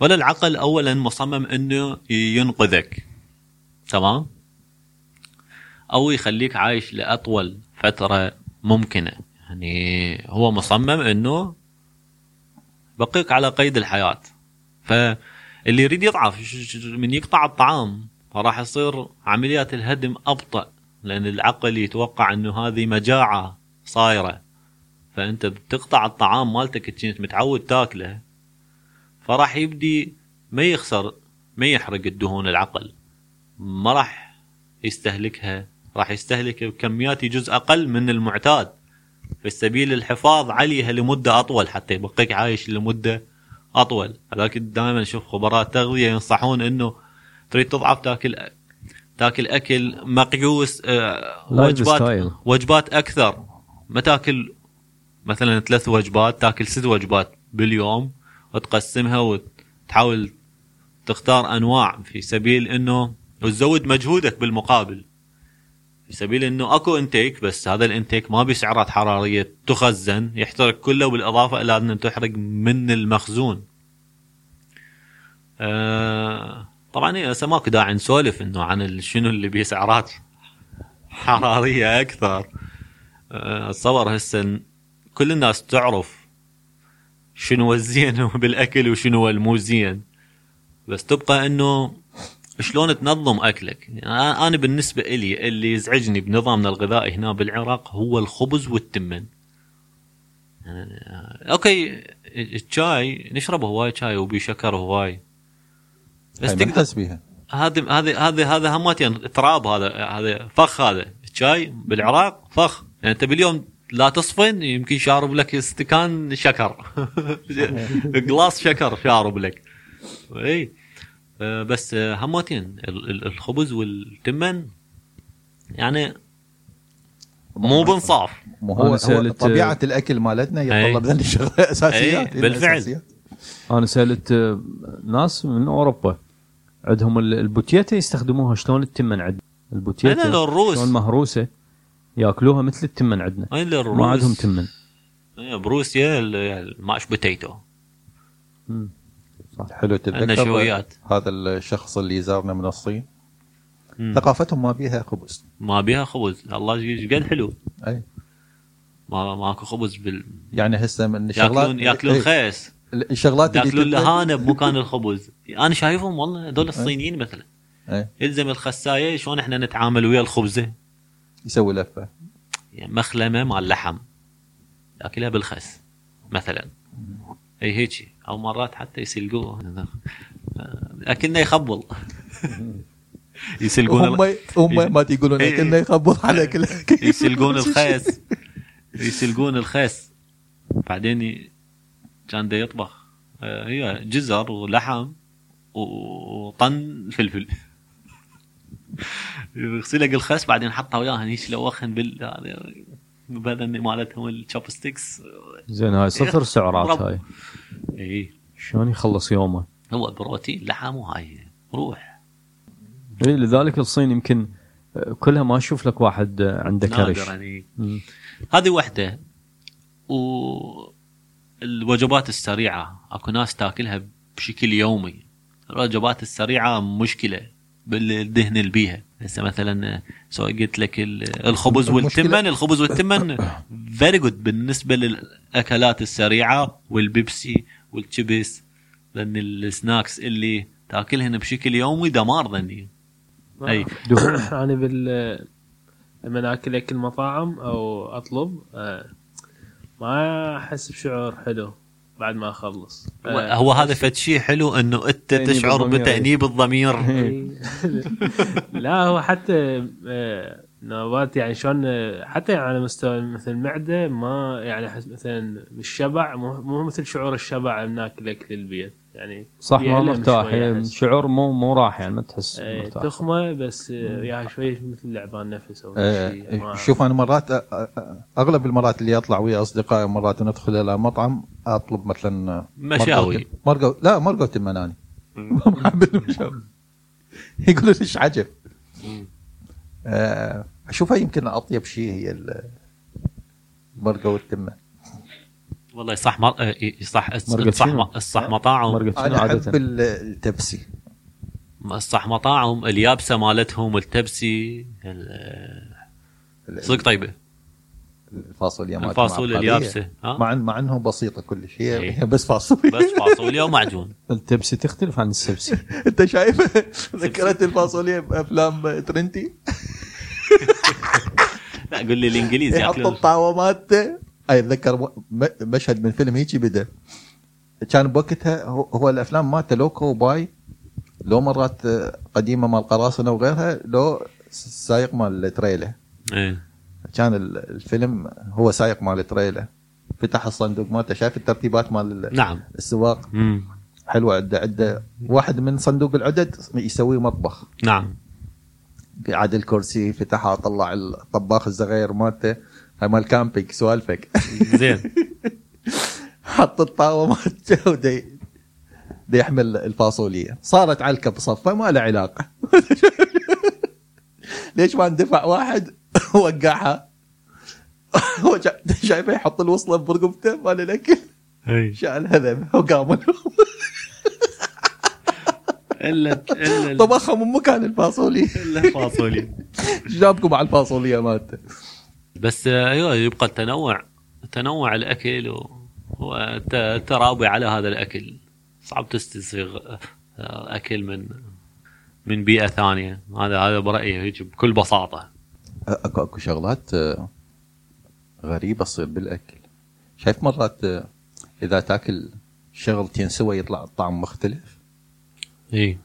Speaker 2: ولا العقل اولا مصمم انه ينقذك تمام او يخليك عايش لاطول فتره ممكنه يعني هو مصمم انه بقيك على قيد الحياه فاللي يريد يضعف ش- ش- من يقطع الطعام راح يصير عمليات الهدم ابطا لان العقل يتوقع انه هذه مجاعه صايره ف فانت بتقطع الطعام مالتك اللي كنت متعود تاكله فراح يبدي ما يخسر ما يحرق الدهون العقل ما راح يستهلكها راح يستهلك بكميات يجوز اقل من المعتاد في سبيل الحفاظ عليها لمده اطول حتى يبقيك عايش لمده اطول لكن دائما نشوف خبراء تغذيه ينصحون انه تريد تضعف تاكل تاكل اكل مقيوس آه،
Speaker 4: لايف
Speaker 2: وجبات
Speaker 4: ستايل.
Speaker 2: وجبات اكثر ما تاكل مثلا ثلاث وجبات تاكل ست وجبات باليوم وتقسمها وتحاول تختار انواع في سبيل انه وتزود مجهودك بالمقابل في سبيل انه اكو انتيك بس هذا الانتيك ما بي سعرات حراريه تخزن يحترق كله بالاضافه الى ان تحرق من المخزون. آه طبعا هي هسه ماكو داعي نسولف انه عن ال- شنو اللي بيه سعرات حراريه اكثر. آه الصبر هسه ن- كل الناس تعرف شنو الزين بالاكل وشنو المو زين بس تبقى انه شلون تنظم اكلك يعني أنا- انا بالنسبه الي اللي يزعجني بنظامنا الغذائي هنا بالعراق هو الخبز والتمن يعني، آه، اوكي الشاي نشرب هواي شاي وبي شكر هواي
Speaker 1: هاي
Speaker 2: بس
Speaker 1: إيه، ما
Speaker 2: تقدر
Speaker 1: نحس بيها
Speaker 2: هذا هذا هذا هذا همات يعني تراب هذا هذا فخ هذا الشاي بالعراق فخ يعني انت باليوم لا تصفن يمكن شارب لك استكان شكر قلاص شكر شارب لك اي آه، بس آه، هماتين ال- ال- الخبز والتمن يعني مو بانصاف
Speaker 1: مو
Speaker 4: أنا
Speaker 1: هو, هو
Speaker 4: سألت-
Speaker 1: طبيعه الاكل مالتنا يتطلب
Speaker 2: أي.
Speaker 1: لنا شغله اساسيات
Speaker 2: أي، إيه. بالفعل.
Speaker 1: أساسيات.
Speaker 4: انا سالت آه، ناس من اوروبا عندهم ال- البوتيتا يستخدموها شلون التمن عندنا البوتيتا
Speaker 2: هذا للروس.
Speaker 4: شلون مهروسه ياكلوها مثل التمن عندنا
Speaker 2: هاي الروس
Speaker 4: ما عندهم تمن
Speaker 2: إيه، بروسيا ال- الماش بوتيتو
Speaker 4: مم.
Speaker 1: حلو
Speaker 2: عندنا
Speaker 1: تتذكر
Speaker 2: شويات
Speaker 1: هذا الشخص اللي زارنا من الصين
Speaker 2: مم.
Speaker 1: ثقافتهم ما بيها خبز
Speaker 2: ما بيها خبز الله يجيك قد حلو
Speaker 1: أي.
Speaker 2: ما ماكو خبز بال...
Speaker 1: يعني هسه من الشغلات
Speaker 2: ياكلون ياكلون
Speaker 1: إيه،
Speaker 2: خيس
Speaker 1: الشغلات اللي
Speaker 2: ياكلون
Speaker 1: تتذكر-
Speaker 2: لهانه بمكان الخبز انا شايفهم والله هذول الصينيين مثلا
Speaker 1: إيه.
Speaker 2: يلزم الخسايه شلون احنا نتعامل ويا الخبزه
Speaker 1: يسوي لفه
Speaker 2: يعني مخلمه مال لحم ياكلها بالخس مثلا اي هيجي او مرات حتى يسلقوه اكلنا يخبل يسلقون
Speaker 1: هم
Speaker 2: ال-
Speaker 1: هم ما يقولون
Speaker 2: إيه.
Speaker 1: اكلنا يخبط على كل
Speaker 2: يسلقون الخيس يسلقون الخيس بعدين ي- كان دا يطبخ آه، هي جزر ولحم و- وطن فلفل يغسلك الخس بعدين حطها وياها هيك لوخن بال هذا بذن مالتهم الشوب ستيكس
Speaker 4: زين هاي صفر سعرات
Speaker 2: رب.
Speaker 4: هاي
Speaker 2: اي
Speaker 4: شلون يخلص يومه
Speaker 2: هو بروتين لحم وهاي روح
Speaker 4: إيه لذلك الصين يمكن آه، كلها ما اشوف لك واحد آه، عنده كرش
Speaker 2: نادراً، إي.
Speaker 4: مم.
Speaker 2: يعني. هذه وحده و الوجبات السريعه اكو ناس تاكلها بشكل يومي الوجبات السريعه مشكله بالدهن اللي بيها هسه مثلا سواء قلت لك ال- الخبز
Speaker 1: المشكلة-
Speaker 2: والتمن الخبز والتمن فيري جود بالنسبه للاكلات السريعه والبيبسي والشيبس لان السناكس اللي تاكلهن بشكل يومي دمار ذني اي
Speaker 5: انا بال لما اكل اكل مطاعم او اطلب آه، ما احس بشعور حلو بعد ما اخلص آه،
Speaker 2: هو هذا فد شيء حلو انه انت
Speaker 4: تأنيب
Speaker 2: تشعر
Speaker 4: الضمير. إيه.
Speaker 2: بتانيب الضمير
Speaker 1: إيه.
Speaker 5: لا هو حتى آه، نوبات يعني شلون آه، حتى يعني على مستوى مثل المعده ما يعني احس مثلا بالشبع مو مو مثل شعور الشبع لما ناكل اكل البيت يعني
Speaker 4: صح ما
Speaker 5: يألم
Speaker 4: مرتاح
Speaker 5: شوي
Speaker 4: إيه،
Speaker 5: أحس.
Speaker 4: شعور مو مو راح يعني ما تحس
Speaker 5: آه،
Speaker 4: مرتاح
Speaker 5: تخمه بس آه، وياها شوي مثل لعبان نفس او شيء
Speaker 1: آه،
Speaker 5: ما-
Speaker 1: شوف انا مرات آه، آه، اغلب المرات اللي اطلع ويا اصدقائي مرات ندخل الى مطعم اطلب مثلا آه،
Speaker 2: مشاوي.
Speaker 1: مرقوت- مرقو لا مرقوت المناني ما أحب المشاوي. يقول لي ايش عجب آه، اشوفها يمكن اطيب شيء هي ال- المرقه والتمه
Speaker 2: والله صح مر... آه، إي- صح
Speaker 4: مرقة
Speaker 2: صح
Speaker 4: شنو؟
Speaker 2: صح مطاعم
Speaker 4: مرقة شنو
Speaker 1: انا احب
Speaker 4: عاده
Speaker 1: ال- التبسي
Speaker 2: صح مطاعم اليابسه مالتهم التبسي ال-
Speaker 1: ال-
Speaker 2: صدق طيبه
Speaker 1: الفاصوليا مالتهم
Speaker 2: الفاصوليا
Speaker 1: عبقرية.
Speaker 2: اليابسة، ها؟
Speaker 1: مع مع انه بسيطه كلش هي
Speaker 2: إيه.
Speaker 1: هي بس فاصوليا
Speaker 2: بس فاصوليا ومعجون
Speaker 4: التبسي تختلف عن السبسي
Speaker 1: انت شايف ذكرت الفاصوليا بافلام ترنتي
Speaker 2: لا قول لي الانجليز
Speaker 1: يحط
Speaker 2: ياكلون
Speaker 1: الطاوه إيه، مالته اي اتذكر و- م- مشهد من فيلم هيجي بدا كان بوقتها هو- هو الافلام مالته لو كوباي لو مرات آه، قديمه مال قراصنه وغيرها لو س- سايق مال التريلا
Speaker 2: ايه
Speaker 1: كان ال- الفيلم هو سايق مال التريلا فتح الصندوق مالته شايف الترتيبات مال ال-
Speaker 2: نعم
Speaker 1: السواق
Speaker 2: مم.
Speaker 1: حلوه عنده عنده واحد من صندوق العدد يسويه مطبخ
Speaker 2: نعم
Speaker 1: قعد الكرسي فتحها طلع الطباخ الصغير مالته هاي مال كامبينج سوالفك
Speaker 2: زين
Speaker 1: حط الطاوله مالته ودي دي يحمل الفاصوليه صارت علكه بصفه ما لها علاقه ليش ما اندفع واحد وقعها هو شا- شايفه يحط الوصله برقبته مال الاكل
Speaker 2: إيه.
Speaker 1: شال هذا وقام
Speaker 2: الا الا
Speaker 1: طبخها من مكان الفاصوليه
Speaker 2: الا فاصوليا
Speaker 1: جابكم على الفاصوليه مالته
Speaker 2: بس آه، ايوه يبقى التنوع تنوع الاكل و- والترابي على هذا الاكل صعب تستسيغ آه، اكل من من بيئه ثانيه هذا هذا برايي هيك بكل بساطه
Speaker 1: اكو اكو شغلات آه، غريبه تصير بالاكل شايف مرات آه، اذا تاكل شغلتين سوا يطلع الطعم مختلف
Speaker 2: اي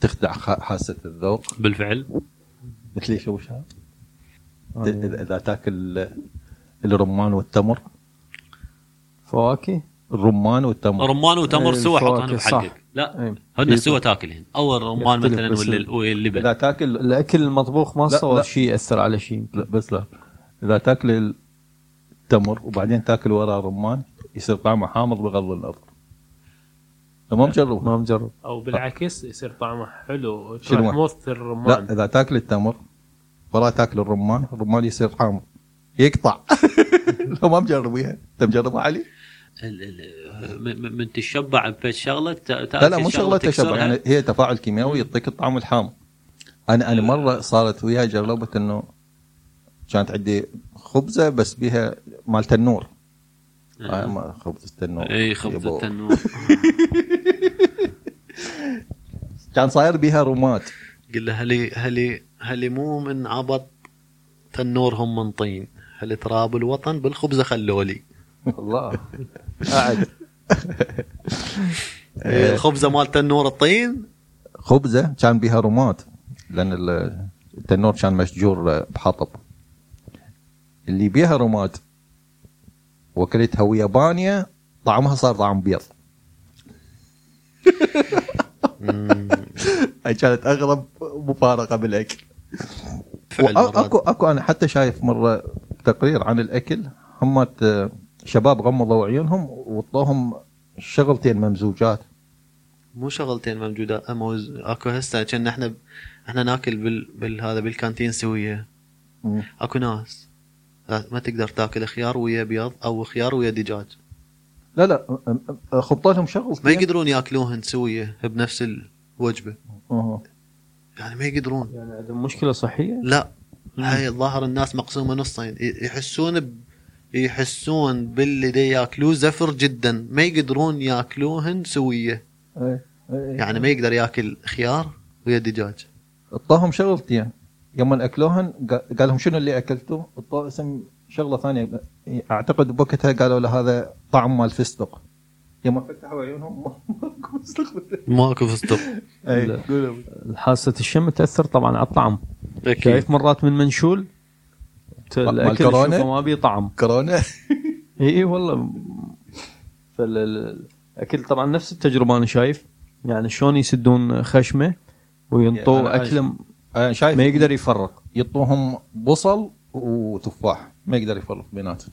Speaker 1: تخدع خا- حاسه الذوق
Speaker 2: بالفعل
Speaker 1: مثل شو شاب اذا إذا تاكل آه، الرمان والتمر
Speaker 4: فواكه
Speaker 1: الرمان والتمر
Speaker 2: رمان وتمر
Speaker 4: إيه،
Speaker 2: سوى حطهم
Speaker 4: الفواكه، صح.
Speaker 2: بحدك لا
Speaker 4: إيه.
Speaker 2: هن سوى تاكلهن او الرمان
Speaker 4: يختلف
Speaker 2: مثلا
Speaker 4: بس
Speaker 2: ولا
Speaker 4: ال-
Speaker 2: ال- ولا اللبن
Speaker 1: اذا تاكل
Speaker 4: الاكل المطبوخ ما
Speaker 1: لا، لا.
Speaker 4: صار شيء ياثر على شيء
Speaker 1: لا بس لا اذا تاكل التمر وبعدين تاكل وراه رمان يصير طعمه حامض بغض النظر ما مجربها
Speaker 4: ما مجرب
Speaker 5: او بالعكس يصير طعمه حلو
Speaker 1: شنو؟
Speaker 5: شنو موثر
Speaker 1: لا
Speaker 5: الرمان
Speaker 1: اذا تاكل التمر ولا تاكل الرمان الرمان يصير حامض يقطع لو ما مجربيها انت مجربها علي؟
Speaker 2: ال- ال- م- م- من تشبع بفد شغله تا-
Speaker 1: لا
Speaker 2: تاكل
Speaker 1: لا مو شغله تشبع
Speaker 2: تكسرها.
Speaker 1: يعني هي تفاعل كيميائي يعطيك الطعم الحامض انا انا مره صارت وياي جربت انه كانت عندي خبزه بس بها مال تنور آه، ما- خبز التنور
Speaker 2: اي خبز
Speaker 1: يبو.
Speaker 2: التنور
Speaker 1: كان صاير بها رماد
Speaker 2: قل له هلي هلي هلي مو من عبط تنورهم من طين هلي تراب الوطن بالخبزه خلولي
Speaker 4: الله
Speaker 1: قاعد
Speaker 2: إيه، الخبزه مال تنور الطين
Speaker 1: خبزه كان بها رماد لان ال- التنور كان مشجور بحطب اللي بيها رماد وكلتها ويا بانيه طعمها صار طعم بيض هاي كانت اغرب مفارقه بالاكل
Speaker 2: فعل
Speaker 1: وأ-
Speaker 2: مرات.
Speaker 1: اكو اكو انا حتى شايف مره تقرير عن الاكل همت آه، شباب غمضوا عيونهم وطوهم شغلتين ممزوجات
Speaker 2: مو شغلتين موجوده موز اكو هسه كنا احنا احنا ناكل بال... بالهذا بالكانتين سويه
Speaker 1: مم.
Speaker 2: اكو ناس لا- ما تقدر تاكل خيار ويا بيض او خيار ويا دجاج
Speaker 1: لا لا آه، آه، خبطوا لهم شغلتين
Speaker 2: ما يقدرون ياكلوهن سويه بنفس الوجبه
Speaker 1: أوه.
Speaker 2: يعني ما يقدرون
Speaker 4: يعني عندهم مشكله صحيه
Speaker 2: لا هاي الظاهر الناس مقسومه نصين ي- يحسون ب... يحسون باللي دي ياكلوه زفر جدا ما يقدرون ياكلوهن سويه
Speaker 1: إيه، إيه، إيه.
Speaker 2: يعني ما يقدر ياكل خيار ويا دجاج
Speaker 1: اعطاهم شغلتين يوم اكلوهن قا- قال لهم شنو اللي اكلته؟ اعطوه اسم شغله ثانيه اعتقد بوقتها قالوا له هذا طعم مال فستق يوم فتحوا عيونهم ماكو فستق
Speaker 2: ماكو فستق
Speaker 1: اي
Speaker 4: لا. حاسه الشم تاثر طبعا على الطعم شايف مرات من منشول ت-
Speaker 1: مال
Speaker 4: الاكل
Speaker 1: كورونا؟
Speaker 4: تشوفه ما بيه طعم
Speaker 1: كورونا
Speaker 4: اي اي والله فالاكل طبعا نفس التجربه انا شايف يعني شلون يسدون خشمه
Speaker 1: يعني
Speaker 4: وينطوا
Speaker 1: أنا
Speaker 4: اكله
Speaker 1: أنا
Speaker 4: ما
Speaker 1: شايف
Speaker 4: يقدر يفرق
Speaker 1: يعطوهم بصل وتفاح ما يقدر يفرق بيناتهم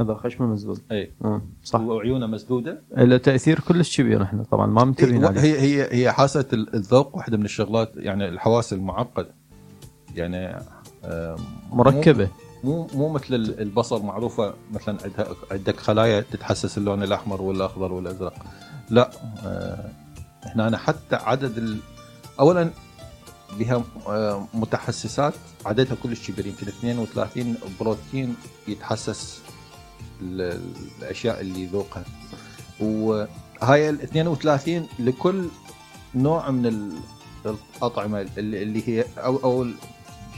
Speaker 4: هذا خشمه مسدود
Speaker 1: اي
Speaker 4: آه، صح
Speaker 1: وعيونه مسدوده
Speaker 4: له تاثير كلش كبير احنا طبعا ما منتبهين عليه
Speaker 1: إيه، هي هي هي حاسه ال- الذوق واحده من الشغلات يعني الحواس المعقده يعني آم،
Speaker 4: مركبه
Speaker 1: مو مو مثل ال- البصر معروفه مثلا عندها عندك خلايا تتحسس اللون الاحمر والاخضر والازرق لا آه، احنا أنا حتى عدد ال... اولا بها آه، متحسسات عددها كلش كبير يمكن 32 بروتين يتحسس ال- الاشياء اللي يذوقها وهاي ال 32 لكل نوع من ال- الاطعمه اللي اللي هي او او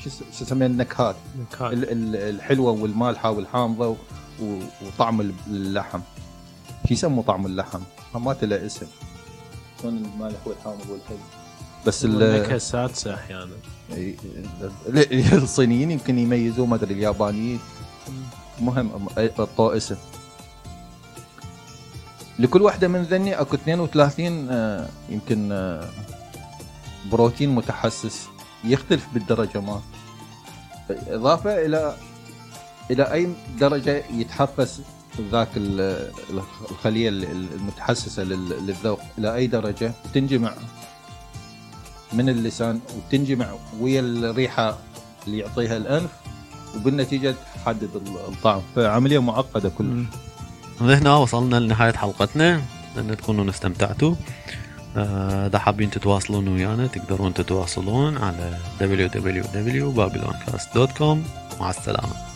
Speaker 1: شو س- شو اسمها النكهات
Speaker 5: نكهات
Speaker 1: ال- ال- الحلوه والمالحه والحامضه و- و- وطعم ال- اللحم شو يسموا طعم اللحم؟ حمات له اسم شلون المالح والحامض والحلو بس ال-
Speaker 5: النكهه السادسه احيانا
Speaker 1: ي- ال- الصينيين يمكن يميزوه ما ادري اليابانيين مهم اعطوه اسم لكل واحده من ذني اكو 32 آه، يمكن آه، بروتين متحسس يختلف بالدرجه ما اضافه الى الى اي درجه يتحفز ذاك ال- الخليه ال- المتحسسه لل- للذوق الى اي درجه تنجمع من اللسان وتنجمع ويا الريحه اللي يعطيها الانف وبالنتيجه تحدد ال- الطعم فعمليه معقده كلش
Speaker 7: هنا وصلنا لنهاية حلقتنا أن تكونوا استمتعتوا آه، إذا حابين تتواصلون ويانا تقدرون تتواصلون على www.babyloncast.com مع السلامة